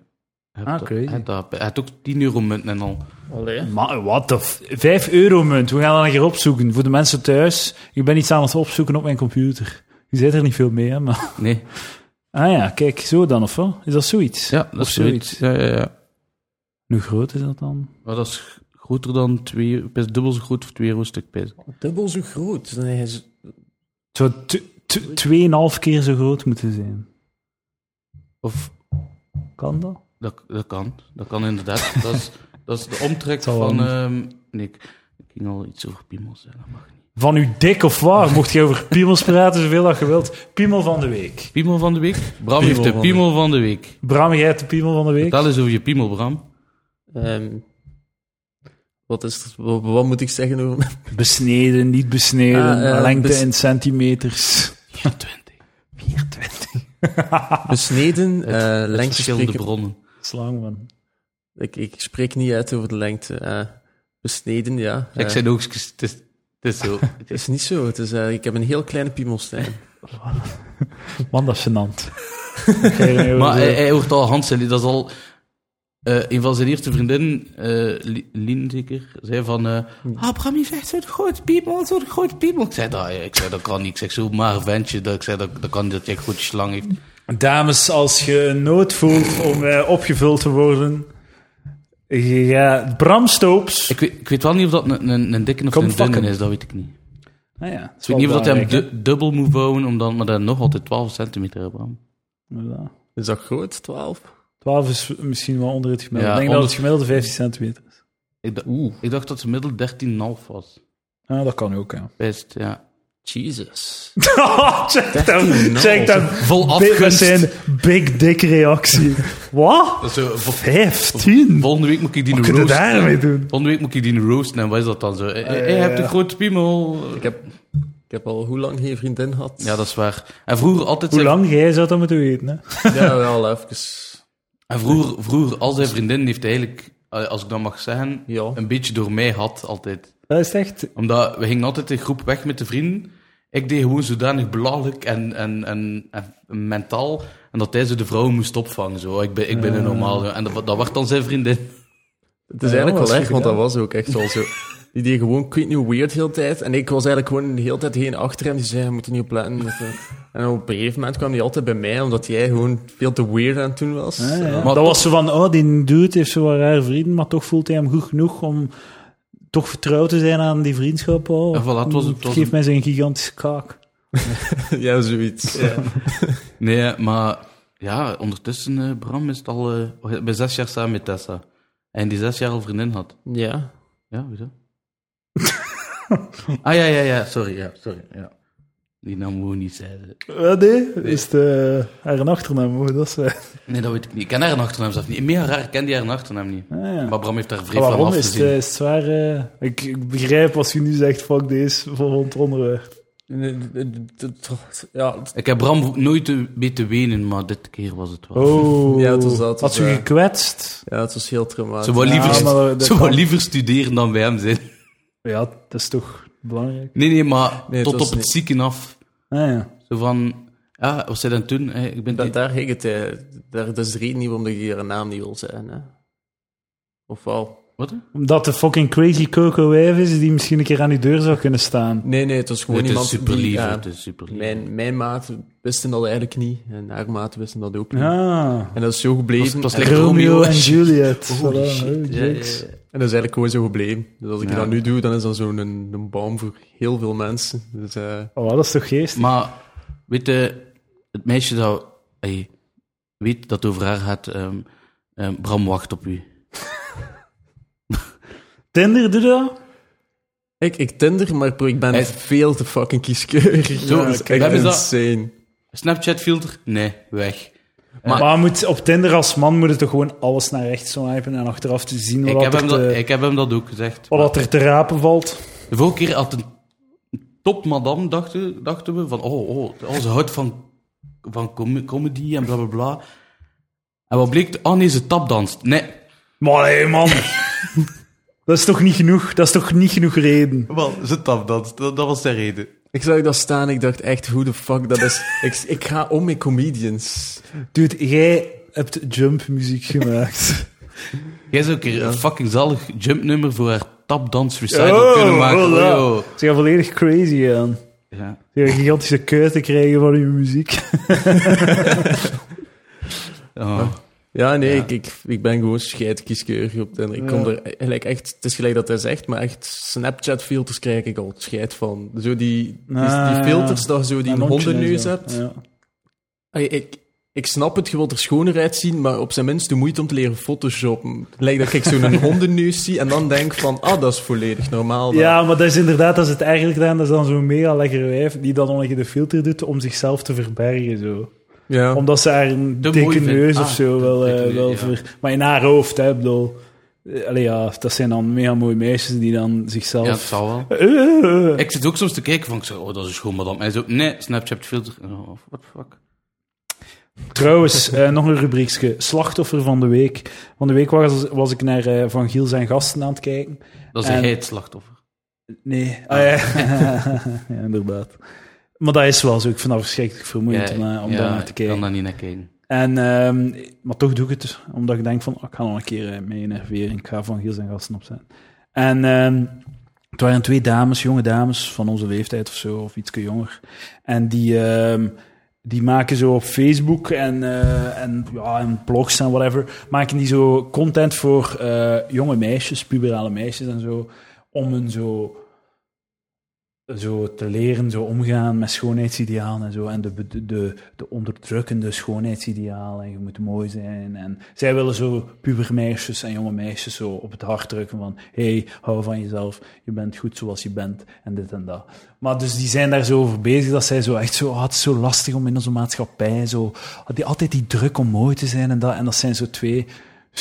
Speaker 2: Hij
Speaker 1: Ah,
Speaker 2: heeft
Speaker 1: crazy.
Speaker 2: dat- hij heeft dat- hij heeft ook 10 euro munten en al.
Speaker 3: Allee.
Speaker 1: Maar wat de... f- Vijf euromunt, we gaan dat een keer opzoeken. Voor de mensen thuis, ik ben iets aan het opzoeken op mijn computer. Je zit er niet veel mee, hè, maar...
Speaker 2: Nee.
Speaker 1: Ah ja, kijk, zo dan, of wel? Is dat zoiets?
Speaker 2: Ja, dat
Speaker 1: Of
Speaker 2: is zoiets. Ja, ja, ja.
Speaker 1: Hoe groot is dat dan?
Speaker 2: Maar dat is g- groter dan 2 euro, pijs, dubbel zo groot voor 2 euro stuk, pijs.
Speaker 3: Dubbel zo groot. Nee, hij is-
Speaker 1: Zo t- t- tweeënhalf keer zo groot moeten zijn.
Speaker 2: Of,
Speaker 1: Kan dat?
Speaker 2: dat, dat kan. Dat kan [LAUGHS] inderdaad. dat, is, dat is de omtrek
Speaker 1: Zal wel
Speaker 2: van...
Speaker 1: niet.
Speaker 2: ehm nee, ik, ik ging al iets over piemels zeggen, dat mag niet.
Speaker 1: Van uw dik of waar? Mocht je over piemels praten, zoveel dat je wilt. Piemel van de week.
Speaker 2: Piemel van de week? Bram heeft
Speaker 1: van
Speaker 2: de
Speaker 1: de
Speaker 2: piemel van de week.
Speaker 1: Bram, jij hebt de piemel van de week.
Speaker 2: Vertel eens over je piemel, Bram.
Speaker 3: Ehm, wat, is het- wat, wat moet ik zeggen
Speaker 2: [LAUGHS]
Speaker 3: over mijn
Speaker 1: Besneden, niet besneden,
Speaker 3: Ah, eh,
Speaker 1: lengte
Speaker 3: bes-
Speaker 1: in centimeters.
Speaker 2: 24.
Speaker 1: 24.
Speaker 3: besneden eh, lengte
Speaker 2: Verschillende
Speaker 3: spreken?
Speaker 2: bronnen.
Speaker 1: Slang, man.
Speaker 3: Ik, ik spreek niet uit over de lengte. eh, besneden, ja.
Speaker 2: Ik
Speaker 3: Eh,
Speaker 2: zijn ook... Het is, het is [LAUGHS] zo. Het
Speaker 3: het
Speaker 2: is-
Speaker 3: is niet zo. Het is, eh, ik heb een heel kleine piemelstein.
Speaker 1: Man, dat is
Speaker 2: [LAUGHS]
Speaker 1: gênant. Wat ga je nou
Speaker 2: Maar
Speaker 1: over-
Speaker 2: eh, hij, hij hoort al Hansen, dat is al... eh, een van zijn eerste vriendinnen, eh, Li- Lien zeker, zei van... eh, ah, Bram heeft echt zo'n groot piemel, zo'n groot piemel. Ik zei, dat, eh, ik zei, dat kan niet. Ik zeg, zo maar een ventje. Dat, ik zei, dat, dat kan niet dat jij een goede slang heeft.
Speaker 1: Dames, als je een nood voelt om eh, opgevuld te worden, ja, Bram Stoops.
Speaker 2: Ik weet, ik weet wel niet of dat een, een, een dikke of
Speaker 1: Kom
Speaker 2: een dunne
Speaker 1: fucken.
Speaker 2: is, dat weet ik niet.
Speaker 1: nou ja,
Speaker 2: Ik weet niet of dat hij hem du- dubbel moet bouwen, omdat, maar dan nog altijd 12 centimeter hebben. Bram.
Speaker 3: Is dat groot? 12?
Speaker 2: [LAUGHS]
Speaker 1: 12 is misschien wel onder het gemiddelde.
Speaker 2: Ja,
Speaker 1: ik denk
Speaker 2: onder-
Speaker 1: dat het gemiddelde 15 centimeter is.
Speaker 2: Ik, da-
Speaker 3: Oeh.
Speaker 2: ik dacht dat ze middel 13,5 was.
Speaker 1: Ja, dat kan [LAUGHS] ook, ja.
Speaker 2: Best, ja.
Speaker 3: Jesus.
Speaker 1: Oh, check hem, check
Speaker 3: Nou,
Speaker 1: hem.
Speaker 2: Vol
Speaker 1: Big- Dat
Speaker 2: Oh, afgunst.
Speaker 1: zijn big dick reactie. Wat?
Speaker 2: Zo, vo-
Speaker 1: 15?
Speaker 2: volgende week moet ik die
Speaker 1: Wat
Speaker 2: roast.
Speaker 1: kun je daarmee doen?
Speaker 2: Volgende week moet ik die roosten en wat is dat dan zo? Eh, eh, eh, je hebt een
Speaker 1: ja.
Speaker 2: grote piemel.
Speaker 3: Ik heb, ik heb al hoe lang geen vriendin gehad. [LAUGHS]
Speaker 2: Ja, dat is waar. En vroeger altijd
Speaker 1: Hoe
Speaker 2: zijn,
Speaker 1: lang jij zou dat moeten weten, hè?
Speaker 3: Ja, wel even.
Speaker 2: en vroeger, vroeger al zijn vriendin heeft eigenlijk, eh, als ik dat mag zeggen,
Speaker 3: Ja.
Speaker 2: een beetje door mij gehad altijd.
Speaker 1: Dat is echt...
Speaker 2: Omdat we gingen altijd in groep weg met de vrienden. Ik deed gewoon zodanig belachelijk en, en, en, en mentaal. En dat hij zo de vrouwen moest opvangen. Zo. Ik ben, ik
Speaker 1: Eh.
Speaker 2: ben een normaal. En dat, dat werd dan zijn vriendin.
Speaker 3: Het is
Speaker 1: Ja,
Speaker 3: eigenlijk
Speaker 1: dat is
Speaker 3: wel
Speaker 1: goed
Speaker 3: erg, want dat
Speaker 1: gedaan.
Speaker 3: was ook echt wel zo. Die deed gewoon, ik weet niet hoe weird, heel de tijd. En ik was eigenlijk gewoon de hele tijd heen achter hem. Die zei, je moet er niet op letten. Of, eh. En op een gegeven moment kwam hij altijd bij mij, omdat jij gewoon veel te weird aan het doen was.
Speaker 1: Ah, Ja, ja.
Speaker 2: Maar
Speaker 1: dat
Speaker 2: toch-
Speaker 1: was zo van, oh, die dude heeft zo wat rare vrienden, maar toch voelt hij hem goed genoeg om toch vertrouwd te zijn aan die vriendschap. Oh.
Speaker 2: En voilà, het was- het was
Speaker 1: Geef
Speaker 2: een-
Speaker 1: mij zijn gigantische kaak.
Speaker 3: Ja, [LAUGHS] ja, zoiets.
Speaker 2: Nee, maar ja, ondertussen, eh, Bram is het al. eh, ik ben zes jaar samen met Tessa. En die zes jaar al vriendin had.
Speaker 3: Ja.
Speaker 2: Ja,
Speaker 1: [LAUGHS]
Speaker 2: hoezo? ah ja, ja, ja, sorry. Ja, sorry ja. Die naam moet niet zeggen.
Speaker 1: Eh, nee, is de, haar een achternaam, hoor, dat is... eh,
Speaker 2: Nee, dat weet ik niet. Ik ken haar een achternaam zelf niet. Meer raar, ik ken die haar een achternaam niet.
Speaker 1: ah, ja.
Speaker 2: Maar Bram heeft daar
Speaker 1: Maar
Speaker 2: vreemd van
Speaker 1: waarom is het,
Speaker 2: afgezien.
Speaker 1: eh, is het zwaar? eh, ik, ik begrijp als je nu zegt, fuck deze, voor het onderwerp.
Speaker 3: Ja,
Speaker 2: Ik heb Bram nooit te- weten wenen, maar dit keer was het wel. [LAUGHS]
Speaker 1: Oh,
Speaker 3: Ja, het was dat, het
Speaker 1: had
Speaker 3: was,
Speaker 1: je
Speaker 3: eh,
Speaker 1: gekwetst?
Speaker 3: ja, het was heel traumatisch.
Speaker 2: Ze wou
Speaker 1: Ja,
Speaker 2: liever,
Speaker 1: maar dat
Speaker 2: ze wou
Speaker 1: kan.
Speaker 2: liever studeren dan bij hem zijn.
Speaker 1: Ja, dat is toch belangrijk?
Speaker 2: Nee, nee, maar
Speaker 3: Nee, het
Speaker 2: tot
Speaker 3: was
Speaker 2: op het
Speaker 3: niet.
Speaker 2: zieken af.
Speaker 1: Ah, ja.
Speaker 2: Zo van, ja, wat zei dan toen? Hé, ik ben
Speaker 3: Dat, daar ging het. eh, daar, dat is de reden niet waarom ik hier een naam niet wil zeggen. Hè. Of wel?
Speaker 2: Wat? hè?
Speaker 1: Omdat de fucking crazy Coco Wijf is die misschien een keer aan die deur zou kunnen staan.
Speaker 3: Nee, nee, het was gewoon
Speaker 2: Nee, het is
Speaker 3: iemand
Speaker 2: super
Speaker 3: die...
Speaker 2: lief,
Speaker 3: ja,
Speaker 2: het is super lief.
Speaker 3: mijn, mijn maat wisten dat eigenlijk niet. En haar maat wisten dat ook niet.
Speaker 1: Ah,
Speaker 3: En dat is zo
Speaker 2: Het
Speaker 3: gebleven.
Speaker 2: was- het was
Speaker 3: en,
Speaker 2: lekker-
Speaker 1: Romeo,
Speaker 2: Romeo
Speaker 1: en
Speaker 2: en
Speaker 1: Juliet.
Speaker 2: Holy
Speaker 1: Voilà,
Speaker 2: shit.
Speaker 1: oh,
Speaker 2: Ja, ja,
Speaker 1: jokes.
Speaker 2: ja.
Speaker 3: en dat is eigenlijk gewoon zo gebleven. Dus als ik
Speaker 2: Ja.
Speaker 3: dat nu doe, dan is dat zo'n een, een boom voor heel veel mensen. Dus, eh,
Speaker 1: Oh, dat is toch geestig?
Speaker 2: Maar, weet je, het meisje dat... ey, weet dat het over haar gaat. ehm, ehm, Bram wacht op u.
Speaker 1: Tinder, doe dat?
Speaker 3: ik, ik tinder, maar bro, ik ben
Speaker 2: Hij-
Speaker 3: veel te fucking kieskeurig.
Speaker 2: Zo,
Speaker 3: dat is
Speaker 2: kijk,
Speaker 3: echt
Speaker 2: hebben ze dat-
Speaker 3: insane.
Speaker 2: Snapchat filter? Nee, weg.
Speaker 1: Maar, moet, op Tinder als man moet je toch gewoon alles naar rechts swipen en achteraf te zien
Speaker 2: Ik
Speaker 1: wat,
Speaker 2: heb,
Speaker 1: er,
Speaker 2: hem dat,
Speaker 1: te,
Speaker 2: ik heb hem dat ook gezegd.
Speaker 1: wat dat er te rapen valt.
Speaker 2: De vorige keer had een top madame, dachten, dachten we, van oh, oh, oh, ze houdt van, van com- comedy en bla bla bla. En wat bleek? Oh nee, ze tapdanst. Nee.
Speaker 1: Maar hé,
Speaker 2: [LAUGHS]
Speaker 1: man. dat is toch niet genoeg? Dat is toch niet genoeg reden?
Speaker 2: Wel, ze tapdanst. Dat, dat was de reden.
Speaker 3: Ik zag dat staan ik dacht echt, hoe de fuck dat is. ik, ik ga om met comedians.
Speaker 1: Dude, jij hebt jump muziek gemaakt.
Speaker 2: Jij zou een keer een fucking zalig jumpnummer voor haar tapdans recital kunnen maken.
Speaker 1: voilà.
Speaker 2: Oh, joh.
Speaker 1: [LAUGHS] Ze gaan volledig crazy aan.
Speaker 2: Ja.
Speaker 1: Ze gaan gigantische kuiten krijgen van je muziek.
Speaker 2: Oh.
Speaker 3: Ja, nee,
Speaker 2: Ja.
Speaker 3: Ik, ik, ik ben gewoon scheidkieskeurig op Tinder. Ik kom
Speaker 1: Ja.
Speaker 3: er eigenlijk echt, het is gelijk dat hij zegt, maar echt Snapchat-filters krijg ik al scheid van. Zo die, die,
Speaker 1: Ah,
Speaker 3: die filters dat je zo die
Speaker 1: Een hondje en
Speaker 3: hondenneus
Speaker 1: zo.
Speaker 3: hebt.
Speaker 1: Ja.
Speaker 3: Ay, ik, Ik snap het, je wilt er schoner uitzien, maar op zijn minst de moeite om te leren photoshoppen. Lijkt dat ik
Speaker 1: [LAUGHS]
Speaker 3: zo'n hondenneus zie en dan denk van, ah, dat is volledig normaal. dan.
Speaker 1: Ja, maar dat is inderdaad, dat is het eigenlijk dan. Dat is dan zo'n mega lekkere wijf die dan onder de filter doet om zichzelf te verbergen. Zo.
Speaker 3: ja.
Speaker 1: Omdat ze haar een
Speaker 2: Te mooi
Speaker 1: dikke
Speaker 2: vindt.
Speaker 1: neus of
Speaker 2: Ah,
Speaker 1: zo
Speaker 2: te
Speaker 1: wel, eh,
Speaker 2: dikke neus,
Speaker 1: wel
Speaker 2: ja.
Speaker 1: ver... Maar in haar hoofd, hè, ik bedoel... eh, Allee, ja, dat zijn dan mega mooie meisjes die dan
Speaker 2: Ja,
Speaker 1: zichzelf...
Speaker 2: het zal wel.
Speaker 1: Eh, eh, eh.
Speaker 2: Ik zit ook soms te kijken van, ik zeg, oh, dat is een schoon madame. En hij zo, nee, Snapchat filter. Oh, what the fuck.
Speaker 1: Trouwens, eh, nog een rubriekje. Slachtoffer van de week. Van de week was, was ik naar eh, Van Giel zijn gasten aan het kijken.
Speaker 2: Dat is
Speaker 1: En-
Speaker 2: hij het slachtoffer.
Speaker 1: Nee. Ah, ja. [LAUGHS] ja, inderdaad. Maar dat is wel zo. Ik vind dat verschrikkelijk vermoeiend om, eh, om daar naar te
Speaker 2: Ik kan
Speaker 1: kijken.
Speaker 2: daar niet naar kijken.
Speaker 1: En, ehm, maar toch doe ik het, omdat ik denk van, ah, ik ga nog een keer eh, mee enerveren. Ik ga van Giel zijn gasten opzetten. En ehm, het waren twee dames, jonge dames, van onze leeftijd of zo, of ietske jonger. En die, ehm, die maken zo op Facebook en, eh, en, ja, en blogs en whatever, maken die zo content voor eh, jonge meisjes, puberale meisjes en zo, om hun zo zo te leren zo omgaan met schoonheidsidealen en zo. En de, de, de, de onderdrukkende schoonheidsidealen. En je moet mooi zijn. En zij willen zo pubermeisjes en jonge meisjes zo op het hart drukken van... hey, hou van jezelf. Je bent goed zoals je bent. En dit en dat. Maar dus die zijn daar zo over bezig dat zij zo echt zo... ah, het is zo lastig om in onze maatschappij zo... ah, Die, altijd die druk om mooi te zijn en dat. En dat zijn zo twee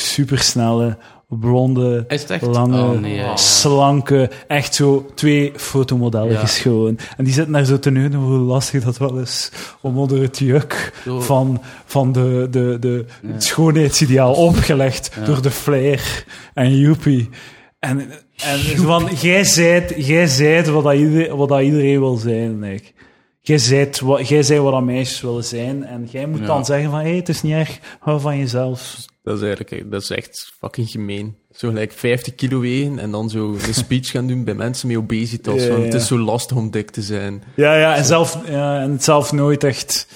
Speaker 1: supersnelle, blonde
Speaker 2: Is het echt?
Speaker 1: lange,
Speaker 2: Oh, nee, ja, ja.
Speaker 1: slanke, echt zo twee fotomodelletjes gewoon. En die zitten daar zo te neunen hoe lastig dat wel is om onder het juk
Speaker 2: Zo.
Speaker 1: van, van de, de, de
Speaker 2: Ja.
Speaker 1: het schoonheidsideaal opgelegd
Speaker 2: Ja.
Speaker 1: door de flair en joepie. En, en van, jij zijt, jij zijt wat, dat iedereen, wat dat iedereen wil zijn, denk ik. Jij zijt, wat, jij zijt wat dat meisjes willen zijn. En jij moet
Speaker 2: Ja.
Speaker 1: dan zeggen van, hé, hey, het is niet erg, hou van jezelf.
Speaker 3: Dat is eigenlijk dat is echt fucking gemeen. Zo gelijk 50 kilo wegen en dan zo een speech gaan doen bij mensen met obesitas.
Speaker 1: Ja,
Speaker 3: van,
Speaker 1: ja.
Speaker 3: Het is zo lastig om dik te zijn.
Speaker 1: Ja, ja, en, zelf, ja, en het zelf nooit echt.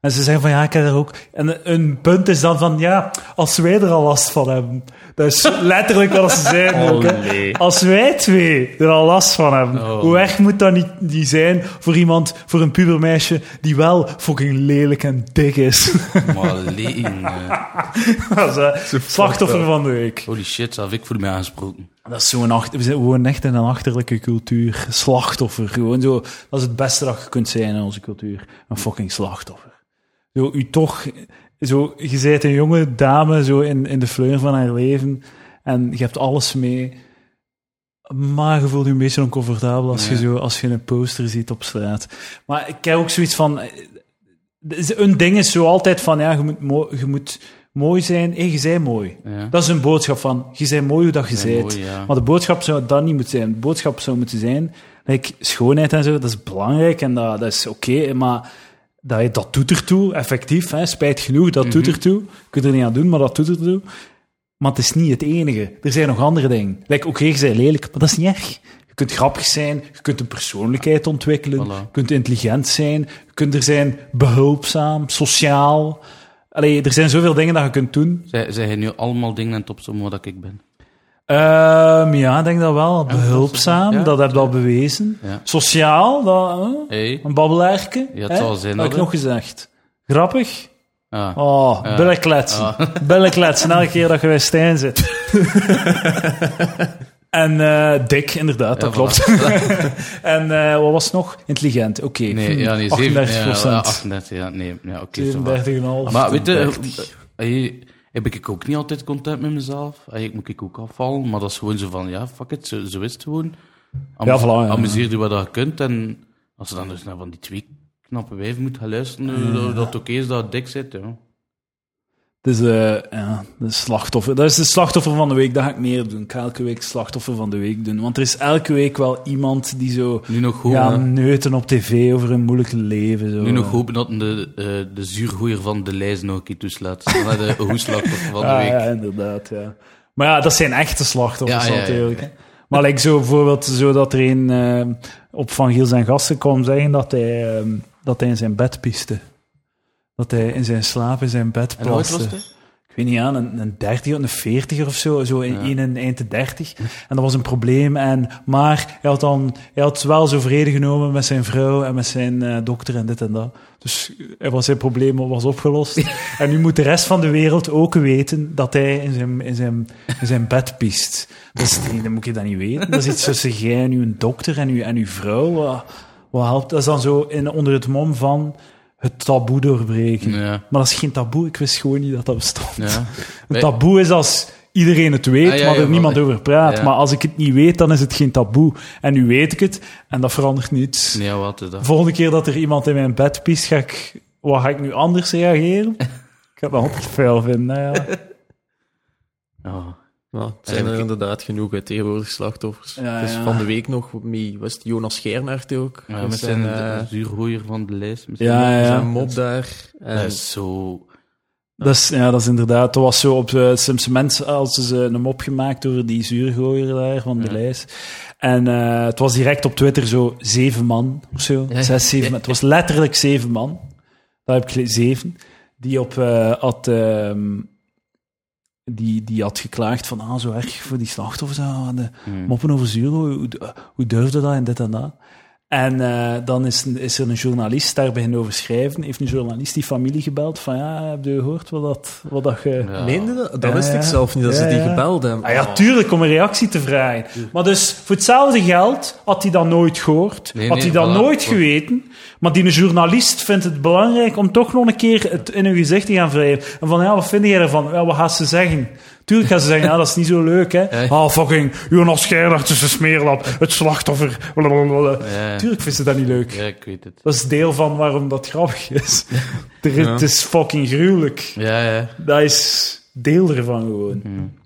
Speaker 1: En ze zeggen van ja, ik heb er ook. En een punt is dan van ja, als wij er al last van hebben. Dat is letterlijk wat ze zeggen. ook, hè.
Speaker 2: Oh, nee.
Speaker 1: Als wij twee er al last van hebben,
Speaker 2: Oh.
Speaker 1: hoe erg moet dat niet die zijn voor iemand, voor een pubermeisje, die wel fucking lelijk en dik is? [LAUGHS]
Speaker 2: Maar leen, eh.
Speaker 1: Dat is, eh, slachtoffer van de week.
Speaker 2: Holy shit, zelf ik voel me aangesproken.
Speaker 1: Dat is zo'n achter, we zijn- we wonen echt in een achterlijke cultuur. Slachtoffer, gewoon zo. Dat is het beste dat je kunt zijn in onze cultuur. Een fucking slachtoffer. Zo, u toch, zo, je bent een jonge dame, zo in, in de fleur van haar leven. En je hebt alles mee. Maar je voelt je een beetje oncomfortabel als, je,
Speaker 2: Ja.
Speaker 1: zo, als je een poster ziet op straat. Maar ik heb ook zoiets van... eh, Een ding is zo altijd van, ja, je moet, mo- je moet mooi zijn. Hé, je bent mooi.
Speaker 2: Ja.
Speaker 1: Dat is een boodschap van, je bent mooi hoe dat je
Speaker 2: Ja,
Speaker 1: bent.
Speaker 2: mooi, ja.
Speaker 1: Maar de boodschap zou dat niet moeten zijn. De boodschap zou moeten zijn, like, schoonheid en zo, dat is belangrijk en dat, dat is oké, maar dat, dat doet ertoe, effectief. Hè, spijt genoeg, dat
Speaker 2: Mhm.
Speaker 1: doet ertoe. Je kunt er niet aan doen, maar dat doet ertoe. Maar het is niet het enige. Er zijn nog andere dingen. Like, oké, je bent lelijk, maar dat is niet erg. Je kunt grappig zijn, je kunt een persoonlijkheid ontwikkelen,
Speaker 2: Voilà.
Speaker 1: je kunt intelligent zijn, je kunt er zijn behulpzaam, sociaal. Allee, er zijn zoveel dingen dat je kunt doen.
Speaker 2: Zij, zij gaan nu allemaal dingen aan het opzommen wat ik ben.
Speaker 1: Ehm, ja, ik denk dat wel. Behulpzaam,
Speaker 2: ja.
Speaker 1: dat heb je al bewezen.
Speaker 2: Ja.
Speaker 1: Sociaal, dat, hè?
Speaker 2: Hey.
Speaker 1: een babbelaarke.
Speaker 2: Ja, het
Speaker 1: hè?
Speaker 2: zal zijn,
Speaker 1: Had ik
Speaker 2: hè?
Speaker 1: nog gezegd. Grappig?
Speaker 2: Ah.
Speaker 1: Oh,
Speaker 2: Ja.
Speaker 1: billenkletsen.
Speaker 2: [LAUGHS]
Speaker 1: Billenkletsen, elke keer dat je bij Stijn zit. en eh, dik, inderdaad, dat
Speaker 2: Ja,
Speaker 1: klopt.
Speaker 2: voilà.
Speaker 1: en eh, wat was het nog? Intelligent, oké.
Speaker 2: Nee,
Speaker 1: Hm,
Speaker 2: ja,
Speaker 1: [LAUGHS]
Speaker 2: nee,
Speaker 1: 38
Speaker 2: Ja, ja, 38, ja, nee, ja, oké. ça va.
Speaker 1: 37,5.
Speaker 2: Maar weet je,
Speaker 1: 38.
Speaker 2: eh, eh, heb ik ook niet altijd content met mezelf. Eh, Ik moet ik ook afvallen, maar dat is gewoon zo van, ja, fuck it, zo, zo is het gewoon. Am-
Speaker 1: Ja, voilà, ja.
Speaker 2: Amuseer je wat je kunt en als je dan dus naar van die twee knappe wijven moet gaan luisteren, dat- dat het oké is dat het dik zit, ja.
Speaker 1: Dus eh, ja, de slachtoffer. Dat is de slachtoffer van de week. Dat ga ik meer doen. Ik ga elke week slachtoffer van de week doen. Want er is elke week wel iemand die zo
Speaker 2: Nu nog hopen,
Speaker 1: ja, mm,
Speaker 2: hè.
Speaker 1: neuten op tv over hun moeilijk leven. Zo.
Speaker 2: nu nog hopen dat de, eh de zuurgoeier van de lijst nog een keer toeslaat. [LAUGHS] Dat is de hoeslachtoffer van de
Speaker 1: Ah,
Speaker 2: week.
Speaker 1: Ja, inderdaad, ja. Maar ja, dat zijn echte slachtoffers
Speaker 2: Ja, ja, ja.
Speaker 1: natuurlijk. hè. Maar like zo bijvoorbeeld zo dat er een eh, op Van Giel zijn gasten kwam zeggen dat hij, eh, dat hij in zijn bed piste. Dat hij in zijn slaap in zijn bed
Speaker 2: En hoe oud
Speaker 1: plaste.
Speaker 2: was hij?
Speaker 1: Ik weet niet aan, een, een dertiger, een veertiger of zo, zo in, in een eind de dertig. En dat was een probleem. En, maar hij had, dan, hij had wel zo vrede genomen met zijn vrouw en met zijn eh, dokter en dit en dat. Dus hij was zijn probleem was opgelost. en nu moet de rest van de wereld ook weten dat hij in zijn, in zijn, in zijn bed piest. Dat, is, niet- dan moet je dat niet weten. Dat is iets tussen jij en uw dokter en uw, en uw vrouw. Wat, wat helpt? Dat is dan zo in, onder het mom van het taboe doorbreken.
Speaker 2: Ja.
Speaker 1: Maar dat is geen taboe, ik wist gewoon niet dat dat bestond.
Speaker 2: ja.
Speaker 1: Een taboe is als iedereen het weet,
Speaker 2: Ah, ja,
Speaker 1: maar
Speaker 2: ja,
Speaker 1: er niemand
Speaker 2: maar-
Speaker 1: over praat.
Speaker 2: ja.
Speaker 1: Maar als ik het niet weet, dan is het geen taboe. En nu weet ik het, en dat verandert niets.
Speaker 2: Nee, wat is
Speaker 1: De
Speaker 2: dat?
Speaker 1: volgende keer dat er iemand in mijn bed piest, ga ik... Wat ga ik nu anders reageren?
Speaker 2: [LAUGHS]
Speaker 1: ik ga dat altijd vuil vinden, nou ja.
Speaker 2: Ja.
Speaker 3: Nou, het zijn
Speaker 2: Ja,
Speaker 3: er
Speaker 2: ik-
Speaker 3: inderdaad genoeg hè, tegenwoordig slachtoffers.
Speaker 1: Ja,
Speaker 3: dus
Speaker 1: ja.
Speaker 3: van de week nog, mee, was het Jonas Geernaert ook?
Speaker 2: Ja,
Speaker 3: Dat
Speaker 2: met
Speaker 3: zijn,
Speaker 2: zijn
Speaker 3: eh,
Speaker 2: de zuurroeier van de lijst. misschien.
Speaker 1: Ja, ja, ja.
Speaker 3: zijn mop daar. En,
Speaker 2: Dat is zo...
Speaker 1: Dat is, ja, dat is inderdaad. Dat was zo op eh, het Simpson mensen als ze een mop gemaakt over die zuurgooier daar van de
Speaker 2: Ja.
Speaker 1: lijst. En eh, het was direct op Twitter zo zeven man of zo.
Speaker 2: Ja.
Speaker 1: Zes, zeven. man. Het was letterlijk zeven man. Daar heb ik gele- zeven. Die op eh, had. ehm, die, die had geklaagd van ah, zo erg voor die slachtoffers. ah, de
Speaker 2: Hm.
Speaker 1: moppen over Zuro, hoe, hoe durfde dat en dit en dat? En eh, dan is, is er een journalist daar beginnen over schrijven. Heeft een journalist die familie gebeld van ja, heb je gehoord wat dat, wat dat ge...
Speaker 2: Ja.
Speaker 3: Meende dat? Dat
Speaker 1: Ja,
Speaker 3: wist
Speaker 1: ja.
Speaker 3: ik zelf niet, dat
Speaker 1: Ja,
Speaker 3: ze die
Speaker 1: ja.
Speaker 3: gebeld hebben. Oh.
Speaker 1: Ah ja, tuurlijk, om een reactie te vragen. Maar dus, voor hetzelfde geld had hij dat nooit gehoord.
Speaker 2: Nee,
Speaker 1: had
Speaker 2: nee,
Speaker 1: hij dat
Speaker 2: voilà.
Speaker 1: nooit
Speaker 2: Voilà.
Speaker 1: geweten. Maar die journalist vindt het belangrijk om toch nog een keer het in hun gezicht te gaan wrijven. En van, ja, wat vind jij ervan? Ja, wat gaat ze zeggen? Tuurlijk gaan ze zeggen, ja, dat is niet zo leuk, hè.
Speaker 2: Ja.
Speaker 1: Ah, fucking Jonas Gerdaert is een smeerlap. Het slachtoffer. blablabla.
Speaker 2: Ja, ja.
Speaker 1: Tuurlijk vindt ze dat niet leuk.
Speaker 2: ja, ik weet het.
Speaker 1: Dat is deel van waarom dat grappig is. Er- [LAUGHS] Het is fucking gruwelijk.
Speaker 2: Ja, ja.
Speaker 1: Dat is deel ervan gewoon.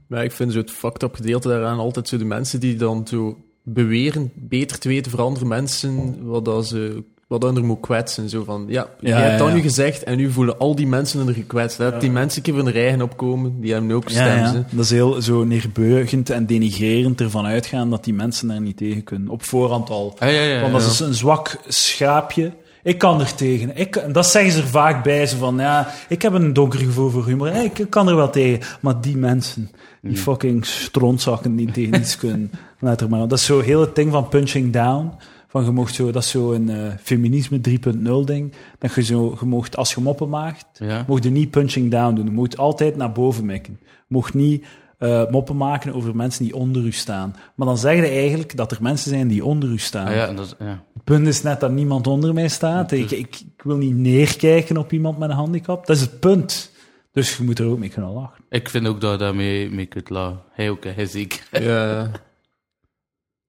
Speaker 3: Maar ik vind zo het fucked up gedeelte daaraan altijd zo de mensen die dan zo beweren beter te weten voor andere mensen wat dat ze wat dan er moet kwetsen. Zo van, ja, je
Speaker 1: Ja,
Speaker 3: hebt dat
Speaker 1: ja,
Speaker 3: nu
Speaker 1: ja.
Speaker 3: gezegd en nu voelen al die mensen er gekwetst. Heb die mensen een keer van de eigen opkomen, die hebben ook
Speaker 1: Ja,
Speaker 3: stem.
Speaker 1: ja.
Speaker 3: ze.
Speaker 1: dat is heel zo neerbuigend en denigrerend ervan uitgaan dat die mensen daar niet tegen kunnen. Op voorhand al.
Speaker 2: Ah, ja, ja, ja.
Speaker 1: Want dat is een zwak schaapje. Ik kan er tegen. Ik, en dat zeggen ze er vaak bij. Ze van, ja, ik heb een donker gevoel voor humor. Ja, Ik kan er wel tegen. Maar die mensen, die
Speaker 2: Hmm.
Speaker 1: fucking strontzakken die tegen
Speaker 2: [LAUGHS]
Speaker 1: iets kunnen. Laat er maar. op. Dat is zo heel het ding van punching down. Van je mocht zo, dat is zo een eh, feminisme 3.0 ding. Dat je zo, je mocht, als je moppen maakt,
Speaker 2: Ja.
Speaker 1: mocht je niet punching down doen. Je moet altijd naar boven mikken. Je mocht niet eh, moppen maken over mensen die onder u staan. Maar dan zeg je eigenlijk dat er mensen zijn die onder u staan.
Speaker 2: Ah, ja, dus- en dat is... Ja.
Speaker 1: Het punt is net dat niemand onder mij staat. Ik, ik, ik wil niet neerkijken op iemand met een handicap. Dat is het punt. Dus je moet er ook mee kunnen lachen.
Speaker 2: Ik vind ook dat je daarmee mee kunt lachen. Hij ook, hè. hij zeker.
Speaker 3: Ja. [LAUGHS]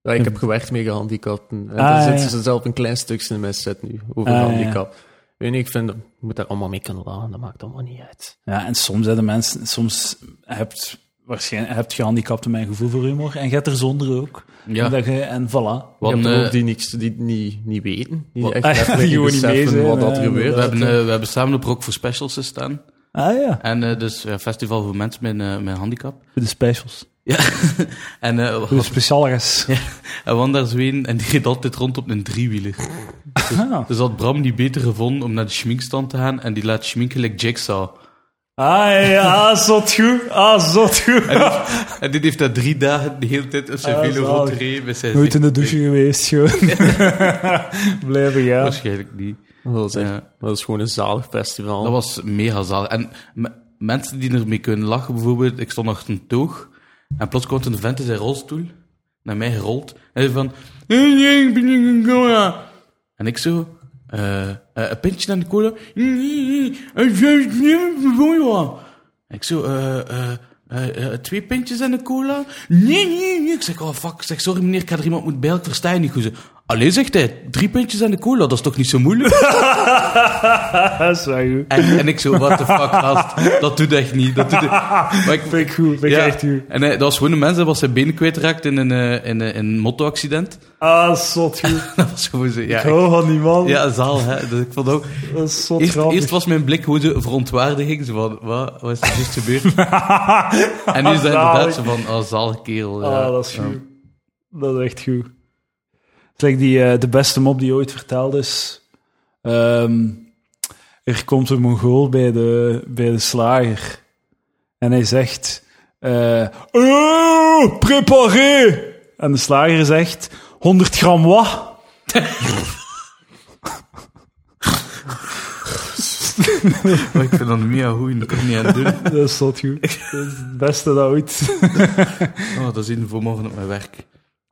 Speaker 3: Ja, ik heb gewerkt met gehandicapten. En
Speaker 1: Ah,
Speaker 3: daar zitten
Speaker 1: ja.
Speaker 3: ze zelf een klein stukje in mijn set nu, over
Speaker 1: Ah, ja.
Speaker 3: handicap. Weet niet, ik vind, dat- je moet daar allemaal mee kunnen lachen, dat maakt allemaal niet uit.
Speaker 1: Ja, en soms hebben mensen, soms hebt waarschijnlijk hebt gehandicapten mijn gevoel voor humor en je hebt er zonder ook.
Speaker 2: Ja.
Speaker 1: Omdat je, en voilà.
Speaker 3: Je
Speaker 2: Want,
Speaker 3: hebt er ook
Speaker 2: eh,
Speaker 3: die, niks, die niet, niet weten, [LAUGHS] die
Speaker 2: Wat-
Speaker 3: echt
Speaker 1: Ah, ja,
Speaker 3: letterlijk
Speaker 1: die gewoon niet mee
Speaker 3: beseffen
Speaker 1: zijn,
Speaker 3: wat dat
Speaker 1: ja,
Speaker 3: er gebeurt.
Speaker 2: we, hebben,
Speaker 1: ja.
Speaker 2: eh, we hebben samen op Rock voor Specials gestaan.
Speaker 1: Ah ja,
Speaker 2: En eh, dus eh, Festival voor Mensen met, eh, met Handicap.
Speaker 1: voor de specials.
Speaker 2: En
Speaker 1: [LAUGHS]
Speaker 2: eh
Speaker 1: Voor de specialers.
Speaker 2: En Wanda Zween, en die reed altijd rond op een driewieler.
Speaker 1: Ah.
Speaker 2: Dus had Bram die beter gevonden om naar de schminkstand te gaan en die laat schminken like
Speaker 1: [LAUGHS]
Speaker 2: Jigsaw.
Speaker 1: Ah ja, ah, zot goed. Ah, zot goed.
Speaker 2: En dit heeft dat drie dagen de hele tijd op zijn
Speaker 1: Ah,
Speaker 2: velo
Speaker 1: zalig.
Speaker 2: rondgereden. met zijn
Speaker 1: [LAUGHS] Nooit in de
Speaker 2: zicht.
Speaker 1: douche geweest, gewoon. [LAUGHS] Blijven gaan.
Speaker 2: Waarschijnlijk niet.
Speaker 3: Dat is, echt-
Speaker 2: Ja.
Speaker 3: dat is gewoon een zalig festival.
Speaker 2: Dat was mega zalig. En me- mensen die ermee kunnen lachen, bijvoorbeeld, ik stond achter een toog en plots komt een vent in zijn rolstoel naar mij gerold en zei van... En ik zo... eh, eh, een pintje aan de cola. En ik zo... eh, eh, eh, eh, twee pintjes aan de cola? Nee, nee, nee. Ik zeg, oh fuck. Ik zeg, sorry meneer, ik had er iemand moet bij. Ik versta je niet goed. Ze, Allee, zegt hij, drie pintjes aan de cola, dat is toch niet zo moeilijk?
Speaker 1: Ah, zo goed.
Speaker 2: En, en ik zo, what the fuck, gast. Dat doet echt niet. Dat doet echt- Maar ik,
Speaker 1: Vind [LAUGHS] ik goed, vind ik echt goed.
Speaker 2: En hij, dat was gewoon een mens dat was zijn benen kwijtgeraakt in een, eh, in een, in een motto-accident. [LAUGHS]
Speaker 1: Ah, zot goed.
Speaker 2: Dat was gewoon zo, ja.
Speaker 1: Ik hou van die man.
Speaker 2: ik- ja, zaal, hè. Dus ik vond ook...
Speaker 1: Dat is zot
Speaker 2: Eerst,
Speaker 1: grappig.
Speaker 2: eerst was mijn blik gewoon zo verontwaardiging. Zo van, wat, wat is er juist
Speaker 1: [LAUGHS]
Speaker 2: gebeurd? en nu is dat inderdaad
Speaker 1: Zalig.
Speaker 2: zo van, oh, zaal, kerel. Ja.
Speaker 1: Ah, dat is
Speaker 2: Ja.
Speaker 1: goed. Dat is echt goed. Het is like die, eh, de beste mop die ooit verteld is. Ehm, er komt een Mongool bij de, bij de slager. En hij zegt... eh oh, préparé! En de slager zegt... 100 gram wat? [LAUGHS]
Speaker 2: Maar Oh, ik vind dat mega goed, dat kan ik niet aan doen.
Speaker 1: Dat is zot goed. Dat is het beste dat ooit...
Speaker 2: Oh, dat is in voor morgen op mijn werk.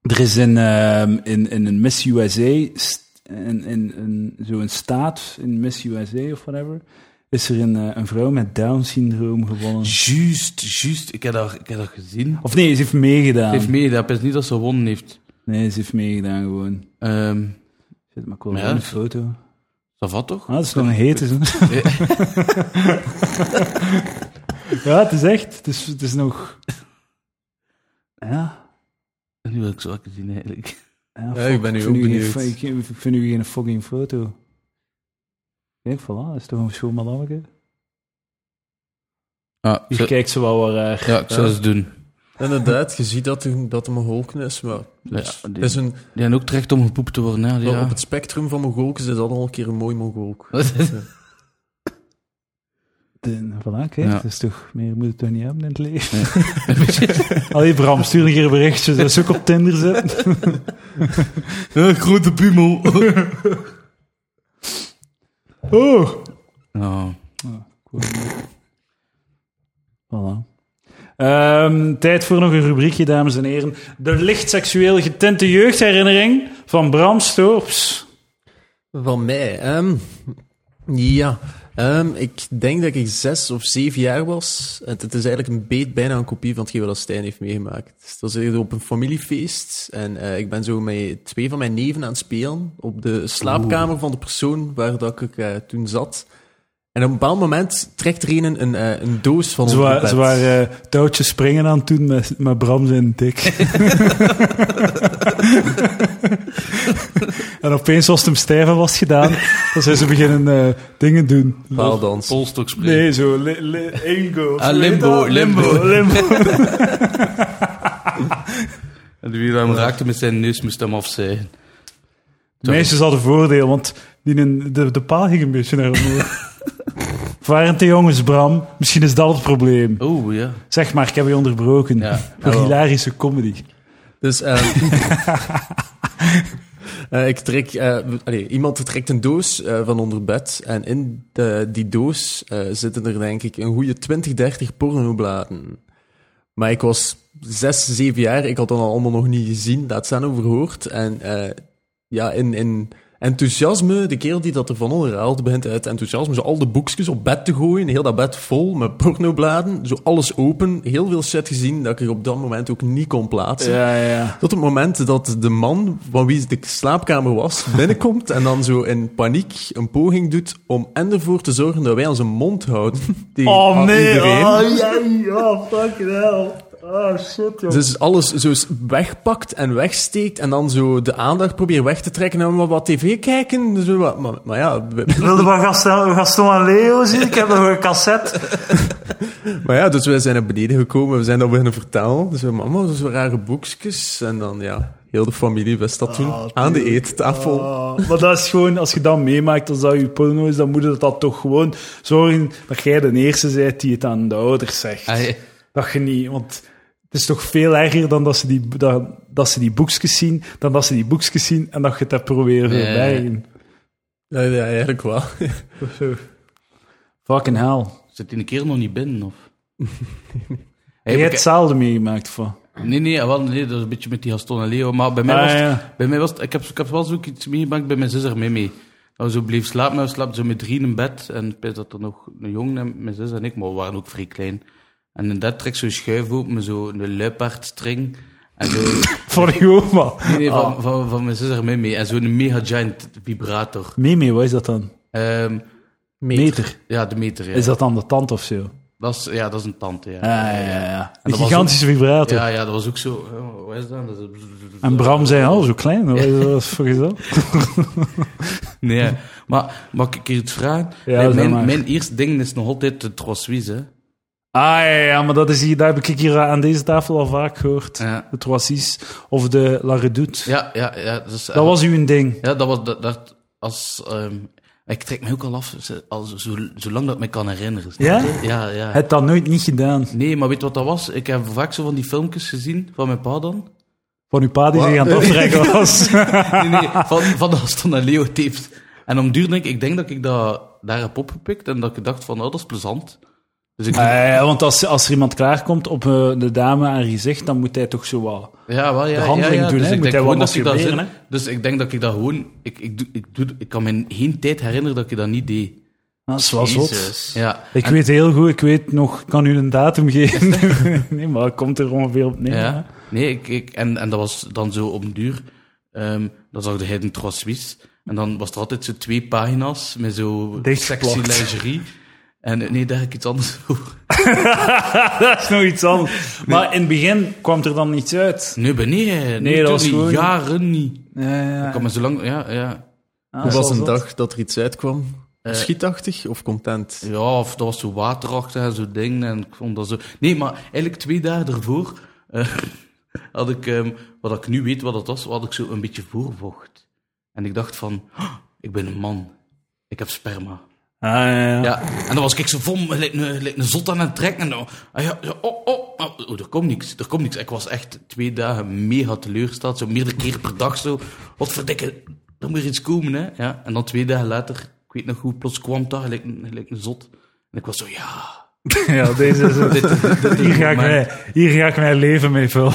Speaker 1: Er is in, ehm, in, in een Miss USA, st- in, in, in zo'n staat, in Miss USA of whatever, is er een, eh, een vrouw met Down-syndroom gewonnen.
Speaker 2: Juist, juist. Ik heb dat, ik heb dat gezien.
Speaker 1: Of nee, ze heeft meegedaan.
Speaker 2: Ze heeft meegedaan, het is niet dat ze gewonnen heeft.
Speaker 1: Nee, ze heeft meegedaan gewoon.
Speaker 2: Ehm
Speaker 1: Zit maar cool
Speaker 2: Maar ja,
Speaker 1: een
Speaker 2: dat-
Speaker 1: foto.
Speaker 2: dat valt
Speaker 1: [LAUGHS]
Speaker 2: toch?
Speaker 1: Ah, dat is nog een hete. zo.
Speaker 2: Ja.
Speaker 1: ja, het is echt. Het is, het is nog... Ja.
Speaker 2: Nu wil ik zo lekker zien, eigenlijk.
Speaker 1: Ja,
Speaker 3: Ja, ik ben nu
Speaker 1: vind
Speaker 3: ook
Speaker 1: u geen
Speaker 3: benieuwd.
Speaker 1: fo- Ik, ik vind nu geen fucking foto. Kijk, voilà, dat is toch een schoon malammeke?
Speaker 2: Ah,
Speaker 1: Hier kijkt eh, ze wel wat raar.
Speaker 2: ja, ik zou het doen.
Speaker 3: Inderdaad, je ziet dat, er- dat er Mogolken is, maar dus,
Speaker 2: die-
Speaker 3: het is een,
Speaker 2: Die hebben ook terecht om gepoept te worden, hè, die,
Speaker 3: op
Speaker 2: ja.
Speaker 3: het spectrum van Mogolken is dat al een keer een mooi Mogolk. [LAUGHS]
Speaker 2: [LAUGHS]
Speaker 1: De, voilà, kijk,
Speaker 2: Ja.
Speaker 1: dat is toch, meer moet het toch niet hebben in het leven? [LAUGHS] Allee, Bram, stuur een keer een berichtje, dat ze ook op Tinder zitten.
Speaker 2: Eh, grote [LAUGHS] pumel.
Speaker 1: Oh!
Speaker 2: Ja.
Speaker 1: Cool. Voilà. Ehm, tijd voor nog een rubriekje, dames en heren. De licht seksueel getinte jeugdherinnering van Bram Storps.
Speaker 3: Van mij, ehm, ja. Ehm, ik denk dat ik zes of zeven jaar was. Het, het is eigenlijk een beet bijna een kopie van hetgeen wat Stijn heeft meegemaakt. Dus Dat was op een familiefeest. En eh, ik ben zo met twee van mijn neven aan het spelen. Op de slaapkamer van de persoon waar dat ik eh, toen zat. En op een bepaald moment trekt er een een, eh, een doos van
Speaker 1: Ze,
Speaker 3: onder
Speaker 1: wa-
Speaker 3: mijn
Speaker 1: ze
Speaker 3: bed.
Speaker 1: waren eh, touwtjes springen aan het doen met, met Bram zijn dik. [LAUGHS] en opeens, als het hem stijf was gedaan, dan zijn ze beginnen eh, dingen doen.
Speaker 3: Paaldans.
Speaker 2: Polstok springen.
Speaker 1: Nee, zo li- li- Ingo.
Speaker 2: Ah, limbo, limbo.
Speaker 1: limbo.
Speaker 2: [LAUGHS] En wie hem raakte met zijn neus moest hem afzijden.
Speaker 1: De meisjes hadden voordeel, want die in de, de paal ging een beetje naar omhoog. Of Waren het de jongens, Bram? Misschien is dat het probleem.
Speaker 2: Oh, ja.
Speaker 1: Zeg maar, ik heb je onderbroken.
Speaker 2: Ja,
Speaker 1: Voor
Speaker 2: jawel.
Speaker 1: hilarische comedy.
Speaker 3: Dus eh, eh, ik trek, eh, w- allee, iemand trekt een doos eh, van onder bed. En in de- die doos eh, zitten er denk ik een goede 20, 30 pornobladen. Maar ik was 6, 7 jaar. Ik had dat allemaal nog niet gezien. Laat staan overhoord. En eh, ja, in, in enthousiasme, de kerel die dat er van onder haalt, begint uit enthousiasme zo al de boekjes op bed te gooien. Heel dat bed vol met pornobladen. Zo alles open. Heel veel shit gezien dat ik er op dat moment ook niet kon plaatsen.
Speaker 1: Ja, ja.
Speaker 3: Tot het moment dat de man van wie de slaapkamer was [LAUGHS] binnenkomt en dan zo in paniek een poging doet om en ervoor te zorgen dat wij onze mond
Speaker 1: [LAUGHS]
Speaker 3: houden tegen
Speaker 1: Oh nee,
Speaker 3: Ah, iedereen.
Speaker 1: oh jee, oh fucking hell. Oh shit, joh.
Speaker 3: Dus alles zo s- wegpakt en wegsteekt en dan zo de aandacht probeert weg te trekken en maar wat tv kijken. Zo wat, maar, maar ja,
Speaker 1: [LAUGHS]
Speaker 3: we-
Speaker 1: Wilde van Gaston, Gaston en Leo zien? Ik heb nog een cassette.
Speaker 3: Maar ja, dus wij zijn naar beneden gekomen, we zijn dat beginnen vertalen. Dus we, mama, dat zijn rare boekjes. En dan, ja, heel de familie wist dat toen
Speaker 1: Ah,
Speaker 3: aan de eettafel.
Speaker 1: Oh, maar dat is gewoon, als je dat meemaakt, als dat je porno is, dan moet je dat toch gewoon zorgen dat jij de eerste bent die het aan de ouders zegt.
Speaker 2: Ah, ja.
Speaker 1: Dat je niet, want het is toch veel erger dan dat ze die, dat, dat ze die boekjes zien, dan dat ze die boekjes zien en dat je het hebt proberen
Speaker 2: Ja, ja, ja.
Speaker 1: verbergen.
Speaker 3: Ja, ja, eigenlijk wel.
Speaker 1: Of zo. Fucking hell.
Speaker 2: Zit die een keer nog niet binnen, [LAUGHS] of?
Speaker 1: Heb
Speaker 2: Hey,
Speaker 1: je
Speaker 2: maar
Speaker 1: hebt hetzelfde meegemaakt van?
Speaker 2: ik- Nee, nee, ah, wel, nee, dat is een beetje met die Gaston en Leo. Maar bij mij
Speaker 1: Ah,
Speaker 2: was, het-
Speaker 1: ja.
Speaker 2: bij mij was het- ik, heb, ik heb wel zoiets iets meegemaakt bij mijn zus ermee mee. Dat we zo bleef slapen, maar we slapen zo met drie in bed. En ik weet dat er nog een jongen, en mijn zus en ik, maar we waren ook vrij klein. En in dat trekt zo'n schuif open, met zo'n luipaardstring.
Speaker 1: [COUGHS]
Speaker 2: En zo...
Speaker 1: Van je oma.
Speaker 2: Nee, nee, van, van, van mijn zus ermee mee. En zo'n mega giant vibrator.
Speaker 1: Meme, wat is dat dan?
Speaker 2: Ehm,
Speaker 1: Meter.
Speaker 2: ja, de meter. Ja.
Speaker 1: Is dat dan de tand of zo?
Speaker 2: Dat is, ja, dat is een tand. Ja.
Speaker 1: Ah, ja, ja, ja.
Speaker 2: En
Speaker 1: Een
Speaker 2: dat was
Speaker 1: gigantische vibrator.
Speaker 2: Ja, ja, dat was ook zo. eh, Wat is dat? dat is-
Speaker 1: En Bram zei, oh, zo klein. Wat is dat voor gezellig?
Speaker 2: Nee, maar mag ik je iets vragen?
Speaker 1: Ja,
Speaker 2: Nee,
Speaker 1: zeg maar.
Speaker 2: mijn, mijn eerste ding is nog altijd de trossuis, hè?
Speaker 1: Ah ja, ja, maar dat, is hier, dat heb ik hier eh, aan deze tafel al vaak gehoord.
Speaker 2: Ja.
Speaker 1: De Troisies of de La Redoute.
Speaker 2: Ja, ja, ja. Dus, eh,
Speaker 1: Dat was uw ding.
Speaker 2: Ja, dat was dat, dat als. ehm, Ik trek mij ook al af, ze- al zo, zolang dat ik me kan herinneren. snap
Speaker 1: Ja?
Speaker 2: je? Ja, ja.
Speaker 1: Heb dat nooit niet gedaan.
Speaker 2: Nee, maar weet wat dat was? Ik heb vaak zo van die filmpjes gezien van mijn pa dan.
Speaker 1: Van uw pa die zich aan het
Speaker 2: Wat?
Speaker 3: [LAUGHS]
Speaker 1: aftrekken was. [LAUGHS]
Speaker 2: Nee, nee, van, van de Aston en Leo tapes. En om duur denk ik, ik denk dat ik dat daar heb opgepikt en dat ik dacht van, oh, dat is plezant. Dus ik,
Speaker 1: Eh, want als, als er iemand klaarkomt op eh, de dame aan haar gezicht, dan moet hij toch zo wat...
Speaker 2: ja, wel, ja,
Speaker 1: de handeling
Speaker 2: ja, ja.
Speaker 1: doen,
Speaker 2: dus
Speaker 1: hè.
Speaker 2: ik
Speaker 1: Moet hij
Speaker 2: denk
Speaker 1: wat
Speaker 2: gewoon dat ik dat
Speaker 1: masturberen,
Speaker 2: zin- Dus ik denk dat ik dat gewoon, ik, ik, doe- ik, doe, ik kan me geen tijd herinneren dat ik dat niet deed.
Speaker 1: Dat is wel zot.
Speaker 3: Jezus.
Speaker 2: Ja.
Speaker 1: Ik weet heel goed, ik weet nog, ik kan u een datum geven. [LAUGHS] nee, maar het komt er ongeveer op neer.
Speaker 2: Ja. Nee, ik, ik, en, en dat was dan zo op den duur. ehm, dan zag hij een Trois Suisse. En dan was er altijd zo twee pagina's met zo
Speaker 1: Dichtgeplakt.
Speaker 2: sexy lingerie. En eh, nee, daar heb ik iets anders [LAUGHS] over.
Speaker 1: [LAUGHS] Dat is nog iets anders. Maar in het begin kwam er dan niets uit.
Speaker 2: Nee, ben nee, nee,
Speaker 1: Nee,
Speaker 2: toen
Speaker 1: dat was
Speaker 2: niet.
Speaker 1: gewoon-
Speaker 2: Jaren niet.
Speaker 1: Ja, ja, Ah,
Speaker 2: Ik kan me zo lang... Ja, ja.
Speaker 3: Hoe was een dag dat er iets uitkwam?
Speaker 2: Ah, Eh,
Speaker 3: Schietachtig of content?
Speaker 2: Ja, of dat was zo waterachtig en zo'n ding. En ik vond dat zo... Nee, maar eigenlijk twee dagen ervoor eh, [LAUGHS] had ik, ehm, wat ik nu weet wat dat was, had ik zo een beetje voorvocht. En ik dacht van, "Oh, ik ben een man. Ik heb sperma.
Speaker 1: Ah, ja, ja.
Speaker 2: Ja, en dan was ik zo vom, gelijk een, gelijk een zot aan het trekken. En dan, ah ja, ja, oh, oh, ah, oh, er komt niks, er komt niks. Ik was echt twee dagen mega teleurgesteld, zo meerdere keer per dag zo. Wat verdikke, er moet iets komen, hè. Ja, en dan twee dagen later, ik weet nog hoe, plots kwam dat, gelijk, een- gelijk een zot. En ik was zo, ja,
Speaker 1: [LAUGHS] Ja, deze is het.
Speaker 2: dit, dit, dit is
Speaker 1: Hier
Speaker 2: het
Speaker 1: ga, ik
Speaker 2: moment.
Speaker 1: mij, hier ga ik mijn leven mee
Speaker 2: [LAUGHS]
Speaker 1: vullen.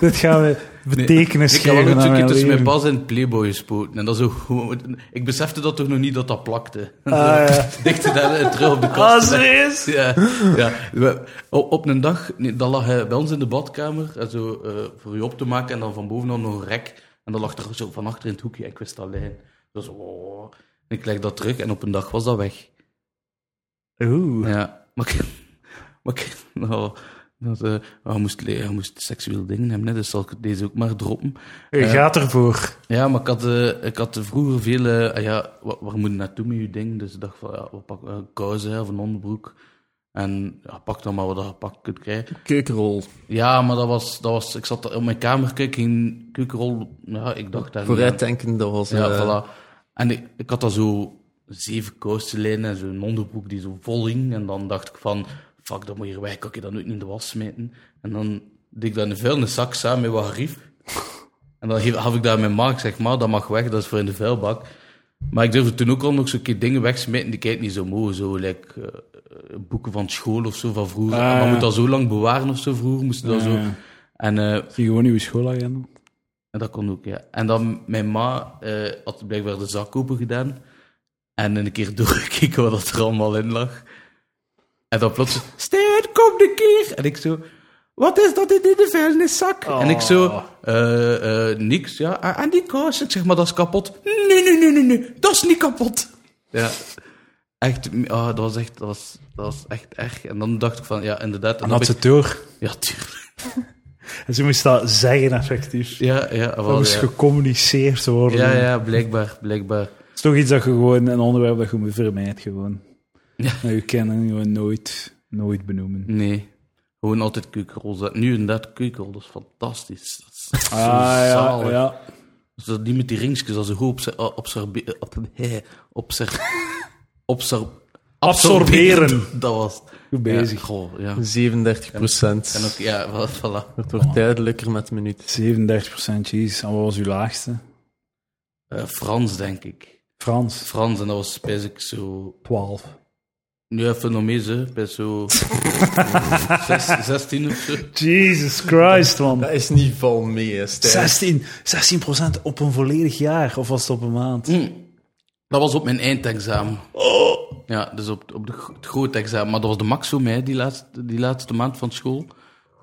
Speaker 1: Dit gaan we betekenis
Speaker 2: Ik heb wel
Speaker 1: geven
Speaker 2: een
Speaker 1: aan
Speaker 2: stukje
Speaker 1: mijn
Speaker 2: tussen mijn
Speaker 1: leven.
Speaker 2: pas en Playboy gespoten. En dat is ook gewoon- Ik besefte dat toch nog niet dat dat plakte. [LAUGHS]
Speaker 1: Ah, ja.
Speaker 2: Dichter daar terug op de kast.
Speaker 1: Ah, serieus?
Speaker 2: [LAUGHS] Ja, ja. We- o- op een dag, nee, dat lag hij bij ons in de badkamer, en zo, eh, voor u op te maken, en dan van bovenop nog een rek. En dat lag er zo van achter in het hoekje, en ik wist dat lijn. Dus, oh. En ik leg dat terug, en op een dag was dat weg.
Speaker 1: Oeh.
Speaker 2: Ja, maar ik... [LAUGHS] Maar ik nou, dat, eh, hij, moest, le- hij moest seksueel dingen hebben, hè, dus zal ik deze ook maar droppen.
Speaker 1: Je gaat ervoor.
Speaker 2: Ja, maar ik had, eh, ik had vroeger veel... eh, ah ja, wa- waar, moet je naartoe met je ding? Dus ik dacht van, ja, wat pak, een kousen of een onderbroek. En ja, pak dan maar wat je pak kunt krijgen.
Speaker 3: Keukenrol.
Speaker 2: Ja, maar dat was, dat was... Ik zat op mijn kamer, keek in keukenrol. Ja, ik dacht daar...
Speaker 3: Vooruitdenken, Eh, dat was...
Speaker 2: Ja,
Speaker 3: eh,
Speaker 2: voilà. En ik, ik had dan zo zeven kousenlijnen en zo'n onderbroek die zo vol hing. En dan dacht ik van, fuck, dat moet hier weg. Kan ik dat nooit in de was smijten? En dan deed ik dat in de vuilniszak samen met wat gerief. En dan geef- gaf ik daar mijn maak, zeg maar, dat mag weg, dat is voor in de vuilbak. Maar ik durfde toen ook al nog zo'n keer dingen wegsmijten die ik eigenlijk niet zo mooi. Zo, like, eh, eh, boeken van school of zo van vroeger.
Speaker 1: Ah,
Speaker 2: En
Speaker 1: ja.
Speaker 2: dan moet dat zo lang bewaren of zo vroeger, moest je dat
Speaker 1: Ah,
Speaker 2: zo...
Speaker 1: ja.
Speaker 2: En eh,
Speaker 1: Zie gewoon uw schoolagenda.
Speaker 2: en dat kon ook, ja. En dan, mijn ma eh, had blijkbaar de zak open gedaan. En een keer [LAUGHS] doorgekeken wat er allemaal in lag. En dan plots, Steven, kom een keer! En ik zo, wat is dat dit in de vuilniszak? En ik zo, eh, eh, niks, ja. En- En die kous, ik zeg, maar dat is kapot. Nee, nee, nee, nee, nee, dat is niet kapot. Ja. Echt, ah, dat was echt, dat was, dat was echt erg. En dan dacht ik van, ja, inderdaad. En
Speaker 1: En
Speaker 2: dan
Speaker 1: had
Speaker 2: heb
Speaker 1: ze
Speaker 2: ik,
Speaker 1: het door.
Speaker 2: ja, tuurlijk.
Speaker 1: En ze moest dat zeggen, effectief.
Speaker 2: [LAUGHS] Ja, ja,
Speaker 1: Dat
Speaker 2: wel,
Speaker 1: moest
Speaker 2: Oh, ja.
Speaker 1: gecommuniceerd worden.
Speaker 2: Ja, ja, blijkbaar, blijkbaar.
Speaker 1: Het is toch iets dat je gewoon, een onderwerp dat je moet vermijden, gewoon. Ja. je kinderen gewoon nooit, nooit benoemen.
Speaker 2: Nee. Gewoon altijd keukenrol zetten. Nu inderdaad keukenrol, dat is fantastisch. Dat is zo
Speaker 1: Ah, ja,
Speaker 2: zalig.
Speaker 1: ja.
Speaker 2: Dus dat die met die ringsjes, als ze goed obser- eh, obserbe- op, eh, obser- [LAUGHS] obser-
Speaker 1: Absorberen.
Speaker 2: Dat was het.
Speaker 1: Goed bezig.
Speaker 2: Ja, goh, ja.
Speaker 3: 37
Speaker 2: En ook, ja, wel, voilà.
Speaker 3: Het wordt duidelijker met de minuut.
Speaker 1: 37% cheese. En wat was uw laagste?
Speaker 2: Eh, Frans, denk ik.
Speaker 1: Frans.
Speaker 2: Frans, en dat was basic zo...
Speaker 1: 12.
Speaker 2: Nu even nog mee, ze. Bij
Speaker 1: [LAUGHS]
Speaker 2: zo... zes- 16 of zo.
Speaker 1: Jesus Christ, man.
Speaker 3: Dat is niet val mee, hè, Stijn.
Speaker 1: 16, 16% op een volledig jaar, of was het op een maand?
Speaker 2: Dat was op mijn eindexamen.
Speaker 1: Oh.
Speaker 2: Ja, dus op, op de, gro- het grote examen. Maar dat was de max voor mij, die laatste, die laatste maand van school.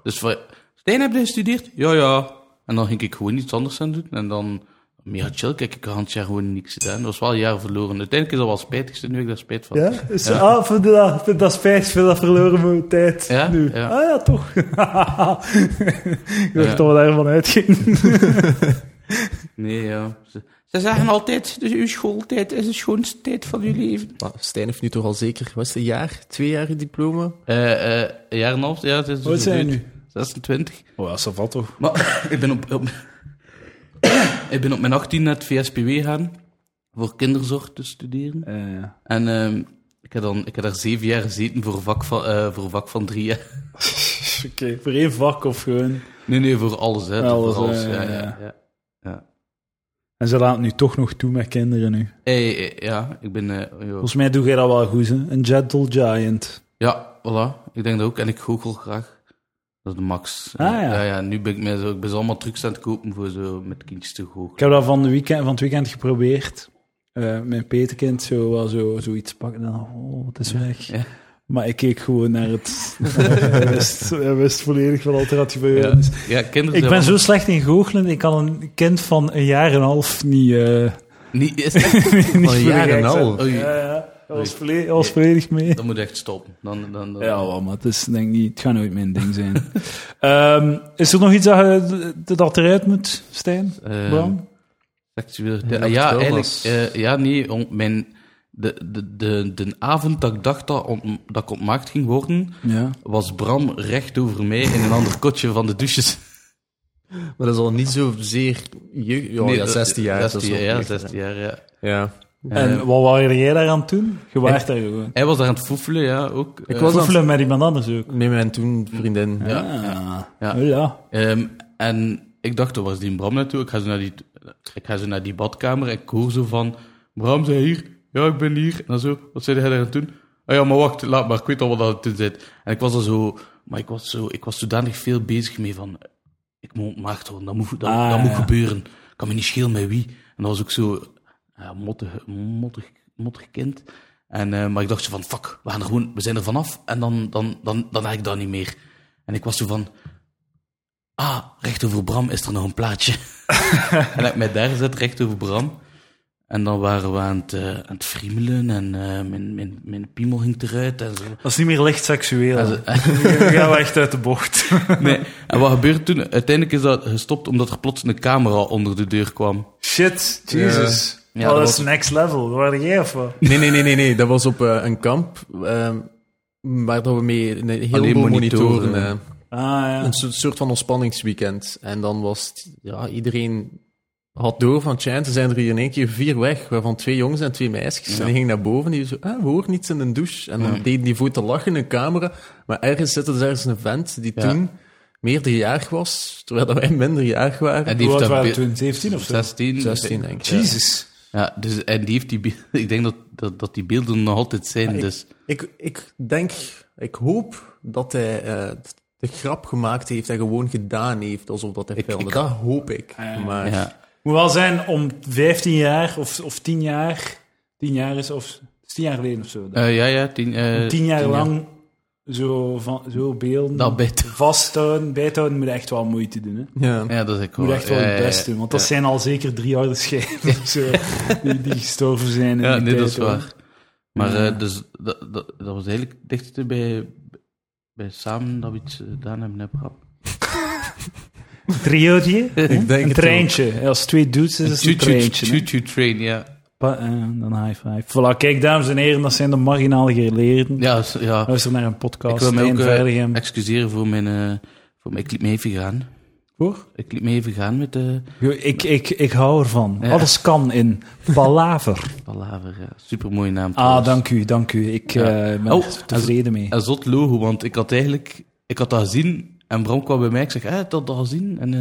Speaker 2: Dus van, Stijn, heb je gestudeerd? Ja, ja. En dan ging ik gewoon iets anders aan doen. En dan, meer chill, kijk, ik had het jaar gewoon niks gedaan. Dat was wel een jaar verloren. Uiteindelijk is dat wel spijtig, nu heb ik daar spijt van.
Speaker 1: Ja? Is Ah, vind je dat, vind je dat spijt, vind je dat verloren mijn tijd
Speaker 2: Ja,
Speaker 1: nu?
Speaker 2: ja.
Speaker 1: Ah ja, toch. [LAUGHS] Ik dacht
Speaker 2: Ja.
Speaker 1: dat we daarvan uitgingen.
Speaker 2: Nee, ja. Ze, ze zeggen altijd, dus uw schooltijd is de schoonste tijd van uw leven.
Speaker 3: Maar Stijn heeft nu toch al zeker, wat is het, een jaar? Twee jaar je diploma?
Speaker 2: Eh, eh, een jaar en een half, ja. Het is
Speaker 1: Wat zijn
Speaker 2: gebeurd.
Speaker 1: nu?
Speaker 2: 26.
Speaker 1: Oh ja, dat valt toch.
Speaker 2: [COUGHS] Maar ik ben op, op- ik ben op mijn 18 naar het VSPW gaan. voor kinderzorg te studeren.
Speaker 1: Eh,
Speaker 2: En ehm, ik, heb dan, ik heb daar zeven jaar gezeten voor een vak van, eh, voor een vak van drie jaar.
Speaker 1: Oké, voor één vak of gewoon.
Speaker 2: Nee, nee, voor alles. Hè,
Speaker 1: Alles,
Speaker 2: voor alles.
Speaker 1: eh,
Speaker 2: ja, ja,
Speaker 1: ja.
Speaker 2: ja.
Speaker 1: En ze laten nu toch nog toe met kinderen nu.
Speaker 2: Hey, eh, ja, ik ben... eh, ja.
Speaker 1: Volgens mij doe jij dat wel goed, hè? Een gentle giant.
Speaker 2: ja, voilà. Ik denk dat ook. En ik goochel graag. Dat is de max.
Speaker 1: Ah, ja.
Speaker 2: ja, nu ben ik, mij zo, ik ben zo allemaal trucs aan het kopen voor zo met kindjes te goochelen.
Speaker 1: Ik heb dat van, de weekend, van het weekend geprobeerd. Eh, mijn petekind zo wel zo, zoiets pakken en dan, oh, het is weg.
Speaker 2: ja.
Speaker 1: Maar ik keek gewoon naar
Speaker 2: [LAUGHS]
Speaker 1: het. hij, wist, hij wist volledig wat er had gebeurd.
Speaker 2: Ja,
Speaker 1: Dus
Speaker 2: ja kinderen
Speaker 1: Ik
Speaker 2: zijn
Speaker 1: ben
Speaker 2: wel-
Speaker 1: zo slecht in goochelen, ik kan een kind van een jaar en een half niet. eh [LAUGHS]
Speaker 2: Niet, [LAUGHS] is dat...
Speaker 1: niet voor de
Speaker 2: jaar en
Speaker 1: gek
Speaker 2: een
Speaker 1: zetten.
Speaker 2: half? Oei.
Speaker 1: Ja, ja. Hij was,
Speaker 2: Oei.
Speaker 1: volledig, hij was volledig mee.
Speaker 2: Dan moet je echt stoppen. Dan, dan, dan-
Speaker 1: Ja, wel, maar het is denk ik niet, het gaat nooit mijn ding zijn. [LAUGHS] Ehm, is er nog iets dat, je- dat eruit moet, Stijn?
Speaker 2: Ehm,
Speaker 1: Bram?
Speaker 2: seksueel. Ah,
Speaker 3: dat
Speaker 2: Ja,
Speaker 3: het wel
Speaker 2: eigenlijk.
Speaker 3: was.
Speaker 2: eh, ja, nee. om- mijn, de, de, de, de avond dat ik dacht dat, ont- dat ik ontmaagd ging worden,
Speaker 1: ja.
Speaker 2: was Bram recht over mij in een ander kotje van de douches.
Speaker 3: Maar dat is al niet zozeer jeugd. Ja,
Speaker 2: Nee,
Speaker 3: ja,
Speaker 2: dat-
Speaker 3: 16 jaar. dat is
Speaker 2: 16
Speaker 3: wel
Speaker 2: jaar, ja,
Speaker 3: jeugd,
Speaker 2: 16 jaar, ja.
Speaker 3: Ja.
Speaker 1: En
Speaker 2: Eh,
Speaker 1: wat waren jij daar aan toen? Je waart daar gewoon.
Speaker 2: hij was daar aan het foefelen, ja, ook.
Speaker 3: Ik
Speaker 2: Eh,
Speaker 3: was aan het-
Speaker 1: Oefenen met iemand anders ook.
Speaker 3: met mijn toen vriendin.
Speaker 2: Ja,
Speaker 1: Ah,
Speaker 2: ja.
Speaker 1: oh ja.
Speaker 2: ehm, en ik dacht, er was die Bram naartoe? Ik ga zo naar die, ik ga zo naar die badkamer en ik hoor zo van... Bram, zijn hier? Ja, ik ben hier. En dan zo, wat zei hij daar aan het doen? Ah ja, maar wacht, laat maar, ik weet al wat dat toen zit. En ik was al zo... Maar ik was, zo, ik was zodanig veel bezig mee van... Ik moet ontmaagd worden, dat moet, dat,
Speaker 1: Ah,
Speaker 2: dat moet
Speaker 1: ja.
Speaker 2: gebeuren. Ik kan me niet schelen met wie. En dat was ook zo... Ja, mottig, mottig, mottig kind. En, eh, maar ik dacht zo van, fuck, we, gaan er gewoon, we zijn er vanaf. En dan, dan, dan, dan heb ik dat niet meer. En ik was zo van... Ah, recht over Bram is er nog een plaatje. en ik mij daar gezet, recht over Bram. En dan waren we aan het, eh, aan het friemelen en eh, mijn, mijn, mijn piemel ging eruit en zo.
Speaker 1: Dat is niet meer licht seksueel.
Speaker 2: En
Speaker 1: Dan
Speaker 2: ze- [LAUGHS]
Speaker 1: gaan we echt uit de bocht.
Speaker 2: nee. En wat gebeurde toen? Uiteindelijk is dat gestopt omdat er plots een camera onder de deur kwam.
Speaker 1: Shit, Jesus.
Speaker 2: Ja,
Speaker 1: oh,
Speaker 2: dat
Speaker 1: dat is
Speaker 2: was-
Speaker 1: next level. Waar waren jij of wat?
Speaker 3: Nee, nee, nee, nee, nee. Dat was op eh, een kamp. ehm, waar dat we mee een
Speaker 2: Alleen
Speaker 3: heleboel monitoren.
Speaker 2: monitoren,
Speaker 3: eh,
Speaker 1: Ah ja.
Speaker 3: een soort, soort van ontspanningsweekend. En dan was het, ja, iedereen had door van Chant, er zijn er hier in één keer vier weg, waarvan twee jongens en twee meisjes. En die gingen naar boven en die zo, ah, we horen iets in de douche. En dan deden die voor te lachen in de camera. Maar ergens zette er dus ergens een vent die
Speaker 2: Ja.
Speaker 3: toen meerderjarig was, terwijl dat wij minderjarig waren.
Speaker 2: En
Speaker 1: Hoe oud
Speaker 2: dat
Speaker 1: waren
Speaker 2: beeld-
Speaker 1: we toen? 17 of zo?
Speaker 2: 16.
Speaker 3: 16, denk ik.
Speaker 1: Jesus.
Speaker 2: Ja, dus, en die heeft die beelden... [LAUGHS] Ik denk dat, dat, dat die beelden nog altijd
Speaker 1: Ah,
Speaker 2: zijn, dus...
Speaker 3: Ik, ik denk, ik hoop dat hij eh, de grap gemaakt heeft en gewoon gedaan heeft alsof dat hij
Speaker 2: Ik-
Speaker 3: filmde.
Speaker 2: ik-
Speaker 3: dat hoop ik. maar
Speaker 2: Ja.
Speaker 1: Moet wel zijn om 15 jaar of, of 10 jaar. 10 jaar is of het is 10 jaar geleden of zo.
Speaker 2: Eh, ja, ja, tien, eh,
Speaker 1: 10 jaar lang zo, van, zo beelden
Speaker 2: Dat bed.
Speaker 1: vasthouden, bijhouden, moet je echt wel moeite doen. Hè?
Speaker 3: ja.
Speaker 2: Ja, dat is ik
Speaker 1: Moet
Speaker 2: wel.
Speaker 1: je echt wel
Speaker 2: Ja, ja,
Speaker 1: het
Speaker 2: ja.
Speaker 1: best doen, want dat zijn al zeker drie oude
Speaker 2: [LAUGHS]
Speaker 1: schijven of zo, die, die gestorven zijn. in
Speaker 2: Ja,
Speaker 1: die
Speaker 2: nee, dat
Speaker 1: tijd,
Speaker 2: is
Speaker 1: hoor.
Speaker 2: waar. Maar
Speaker 1: Ja.
Speaker 2: eh, dus, dat, dat, dat was eigenlijk dichter bij, bij samen dat we iets eh, gedaan hebben, hè, Bram?
Speaker 1: Triootje?
Speaker 3: [LAUGHS] Ik denk
Speaker 1: Een
Speaker 3: het
Speaker 1: treintje. Als twee dudes is het een treintje. hè.
Speaker 2: Choo-choo train, ja.
Speaker 1: Pa- eh, Dan high five. Voilà, kijk, dames en heren, dat zijn de marginale geleerden.
Speaker 2: Ja, s- ja.
Speaker 1: Luister naar een
Speaker 2: Ik
Speaker 1: podcast.
Speaker 2: wil mij
Speaker 1: Stijn
Speaker 2: ook eh,
Speaker 1: Veiligen.
Speaker 2: excuseren voor mijn... eh, voor mijn ik liet me even gaan.
Speaker 1: Voor?
Speaker 2: Ik liet me even gaan met eh, de
Speaker 1: Jo, Ik, ik, ik hou ervan.
Speaker 2: Ja.
Speaker 1: Alles kan in
Speaker 2: [LAUGHS]
Speaker 1: Palaver.
Speaker 2: palaver. Ja. Supermooie naam.
Speaker 1: ah,
Speaker 2: trouwens.
Speaker 1: dank u, dank u. Ik
Speaker 2: Ja.
Speaker 1: eh, ben
Speaker 2: Oh,
Speaker 1: er tevreden mee.
Speaker 2: Een zot logo, want ik had eigenlijk... Ik had dat gezien en Bram kwam bij mij. Ik zeg, hé, dat dat gezien? En, eh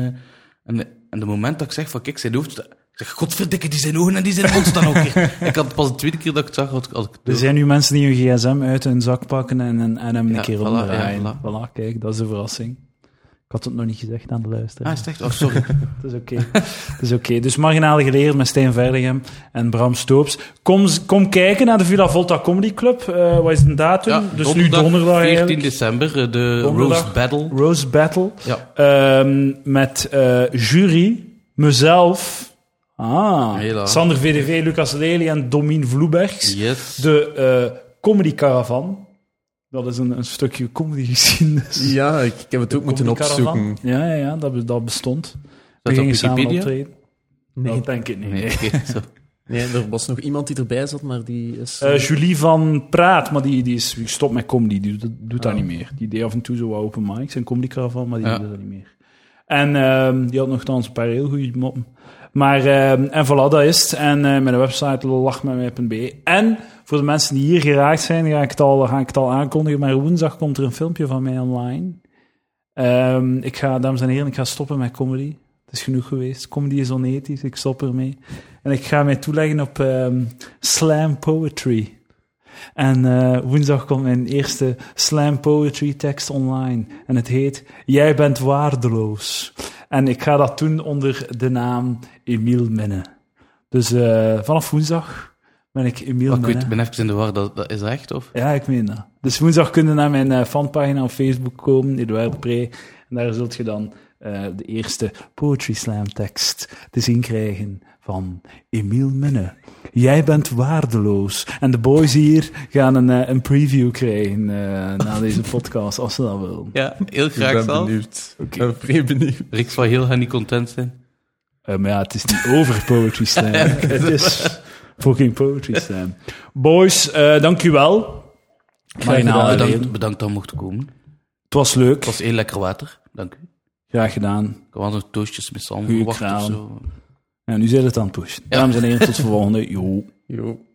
Speaker 2: en, en de moment dat ik zeg van, kijk, zijn hoofd... Ik zeg, godverdikke, die zijn ogen en die zijn mond staan ook
Speaker 1: [LAUGHS]
Speaker 2: hier. ik had pas de tweede keer dat ik het zag, had ik... Had ik
Speaker 1: Er zijn nu mensen die hun gsm uit hun zak pakken en, en, en hem een
Speaker 2: Ja,
Speaker 1: keer
Speaker 2: voilà,
Speaker 1: omdraaien.
Speaker 2: ja, voilà.
Speaker 1: voilà, kijk, dat is de verrassing. Ik had het nog niet gezegd aan de
Speaker 2: Ah,
Speaker 1: luisteraar.
Speaker 2: is het echt? Oh,
Speaker 1: [LAUGHS]
Speaker 2: sorry.
Speaker 1: Het is oké. Het is oké. Dus Marginale Geleerd met Stijn Verdegem en Bram Stoops. Kom, kom kijken naar de Villa Volta Comedy Club. Eh, wat is de datum?
Speaker 2: Ja,
Speaker 1: dus nu donderdag
Speaker 2: 14
Speaker 1: eigenlijk.
Speaker 2: december, eh, de
Speaker 1: Donderdag.
Speaker 2: Rose Battle.
Speaker 1: Rose Battle.
Speaker 2: Ja,
Speaker 1: Ehm, met eh, jury, mezelf, ah,
Speaker 2: Hela.
Speaker 1: Sander VDV, Lucas Lely en Domien Vloebergs.
Speaker 2: yes.
Speaker 1: De eh, Comedy Caravan. Dat is een, een stukje comedy geschiedenis.
Speaker 3: Ja, ik, ik heb het ook moeten
Speaker 1: Comedy Caravan.
Speaker 3: opzoeken.
Speaker 1: Ja, ja, ja dat, be- dat bestond. We
Speaker 2: op
Speaker 1: gingen samen
Speaker 2: Wikipedia?
Speaker 1: optreden. Oh. Dat denk ik niet.
Speaker 2: Nee,
Speaker 1: [LAUGHS]
Speaker 2: oké, zo.
Speaker 3: Nee, er was nog iemand die erbij zat, maar die is...
Speaker 1: Eh, Julie van Praat, maar die, die is gestopt met comedy. Die doet, doet dat
Speaker 3: Oh.
Speaker 1: niet meer. Die deed af en toe zo wat open mics en comedy caravan, maar die
Speaker 2: Ja.
Speaker 1: doet dat niet meer. En ehm, die had nogthans een paar heel goede moppen. Maar, ehm, en voilà, dat is het. En eh, mijn website lachmetmij.be. En voor de mensen die hier geraakt zijn, ga ik het al, ga ik het al aankondigen. Maar woensdag komt er een filmpje van mij online. Ehm, ik ga, dames en heren, ik ga stoppen met comedy. Het is genoeg geweest. Comedy is onethisch, ik stop ermee. En ik ga mij toeleggen op ehm, slam poetry. En eh, woensdag komt mijn eerste slam poetry tekst online. En het heet Jij bent waardeloos. En ik ga dat doen onder de naam Emiel Minne. Dus eh, vanaf woensdag ben ik Emiel
Speaker 2: Maar ik weet,
Speaker 1: Minne.
Speaker 2: ik ben even in de war, dat, dat is dat echt, of?
Speaker 1: Ja, ik meen dat. Dus woensdag kun je naar mijn eh, fanpagina op Facebook komen, Edouard Pre. En daar zult je dan eh, de eerste Poetry Slam tekst te zien krijgen van Emiel Minne. Jij bent waardeloos. En de boys hier gaan een, eh, een preview krijgen eh, na deze podcast, als ze dat willen.
Speaker 2: Ja, heel
Speaker 3: Ik
Speaker 2: graag
Speaker 3: ben
Speaker 2: zelf.
Speaker 3: benieuwd. Ik ben vrij benieuwd.
Speaker 2: Riks van Heel gaat niet content zijn.
Speaker 1: Eh, maar ja, het is niet over Poetry [LAUGHS] Slam. het is fucking Poetry Slam. Boys, eh dank u wel. Graag
Speaker 2: Nou,
Speaker 1: gedaan.
Speaker 2: bedankt, bedankt dat we mochten komen.
Speaker 1: Het was leuk.
Speaker 2: Het was heel lekker water, dank u.
Speaker 1: Graag gedaan.
Speaker 2: Ik had nog toastjes met zalm
Speaker 1: Goeie
Speaker 2: verwacht of
Speaker 1: kraam.
Speaker 2: zo.
Speaker 1: Ja, nu zit het aan het pushen. Dames en heren, tot de volgende. Jo.
Speaker 3: Jo.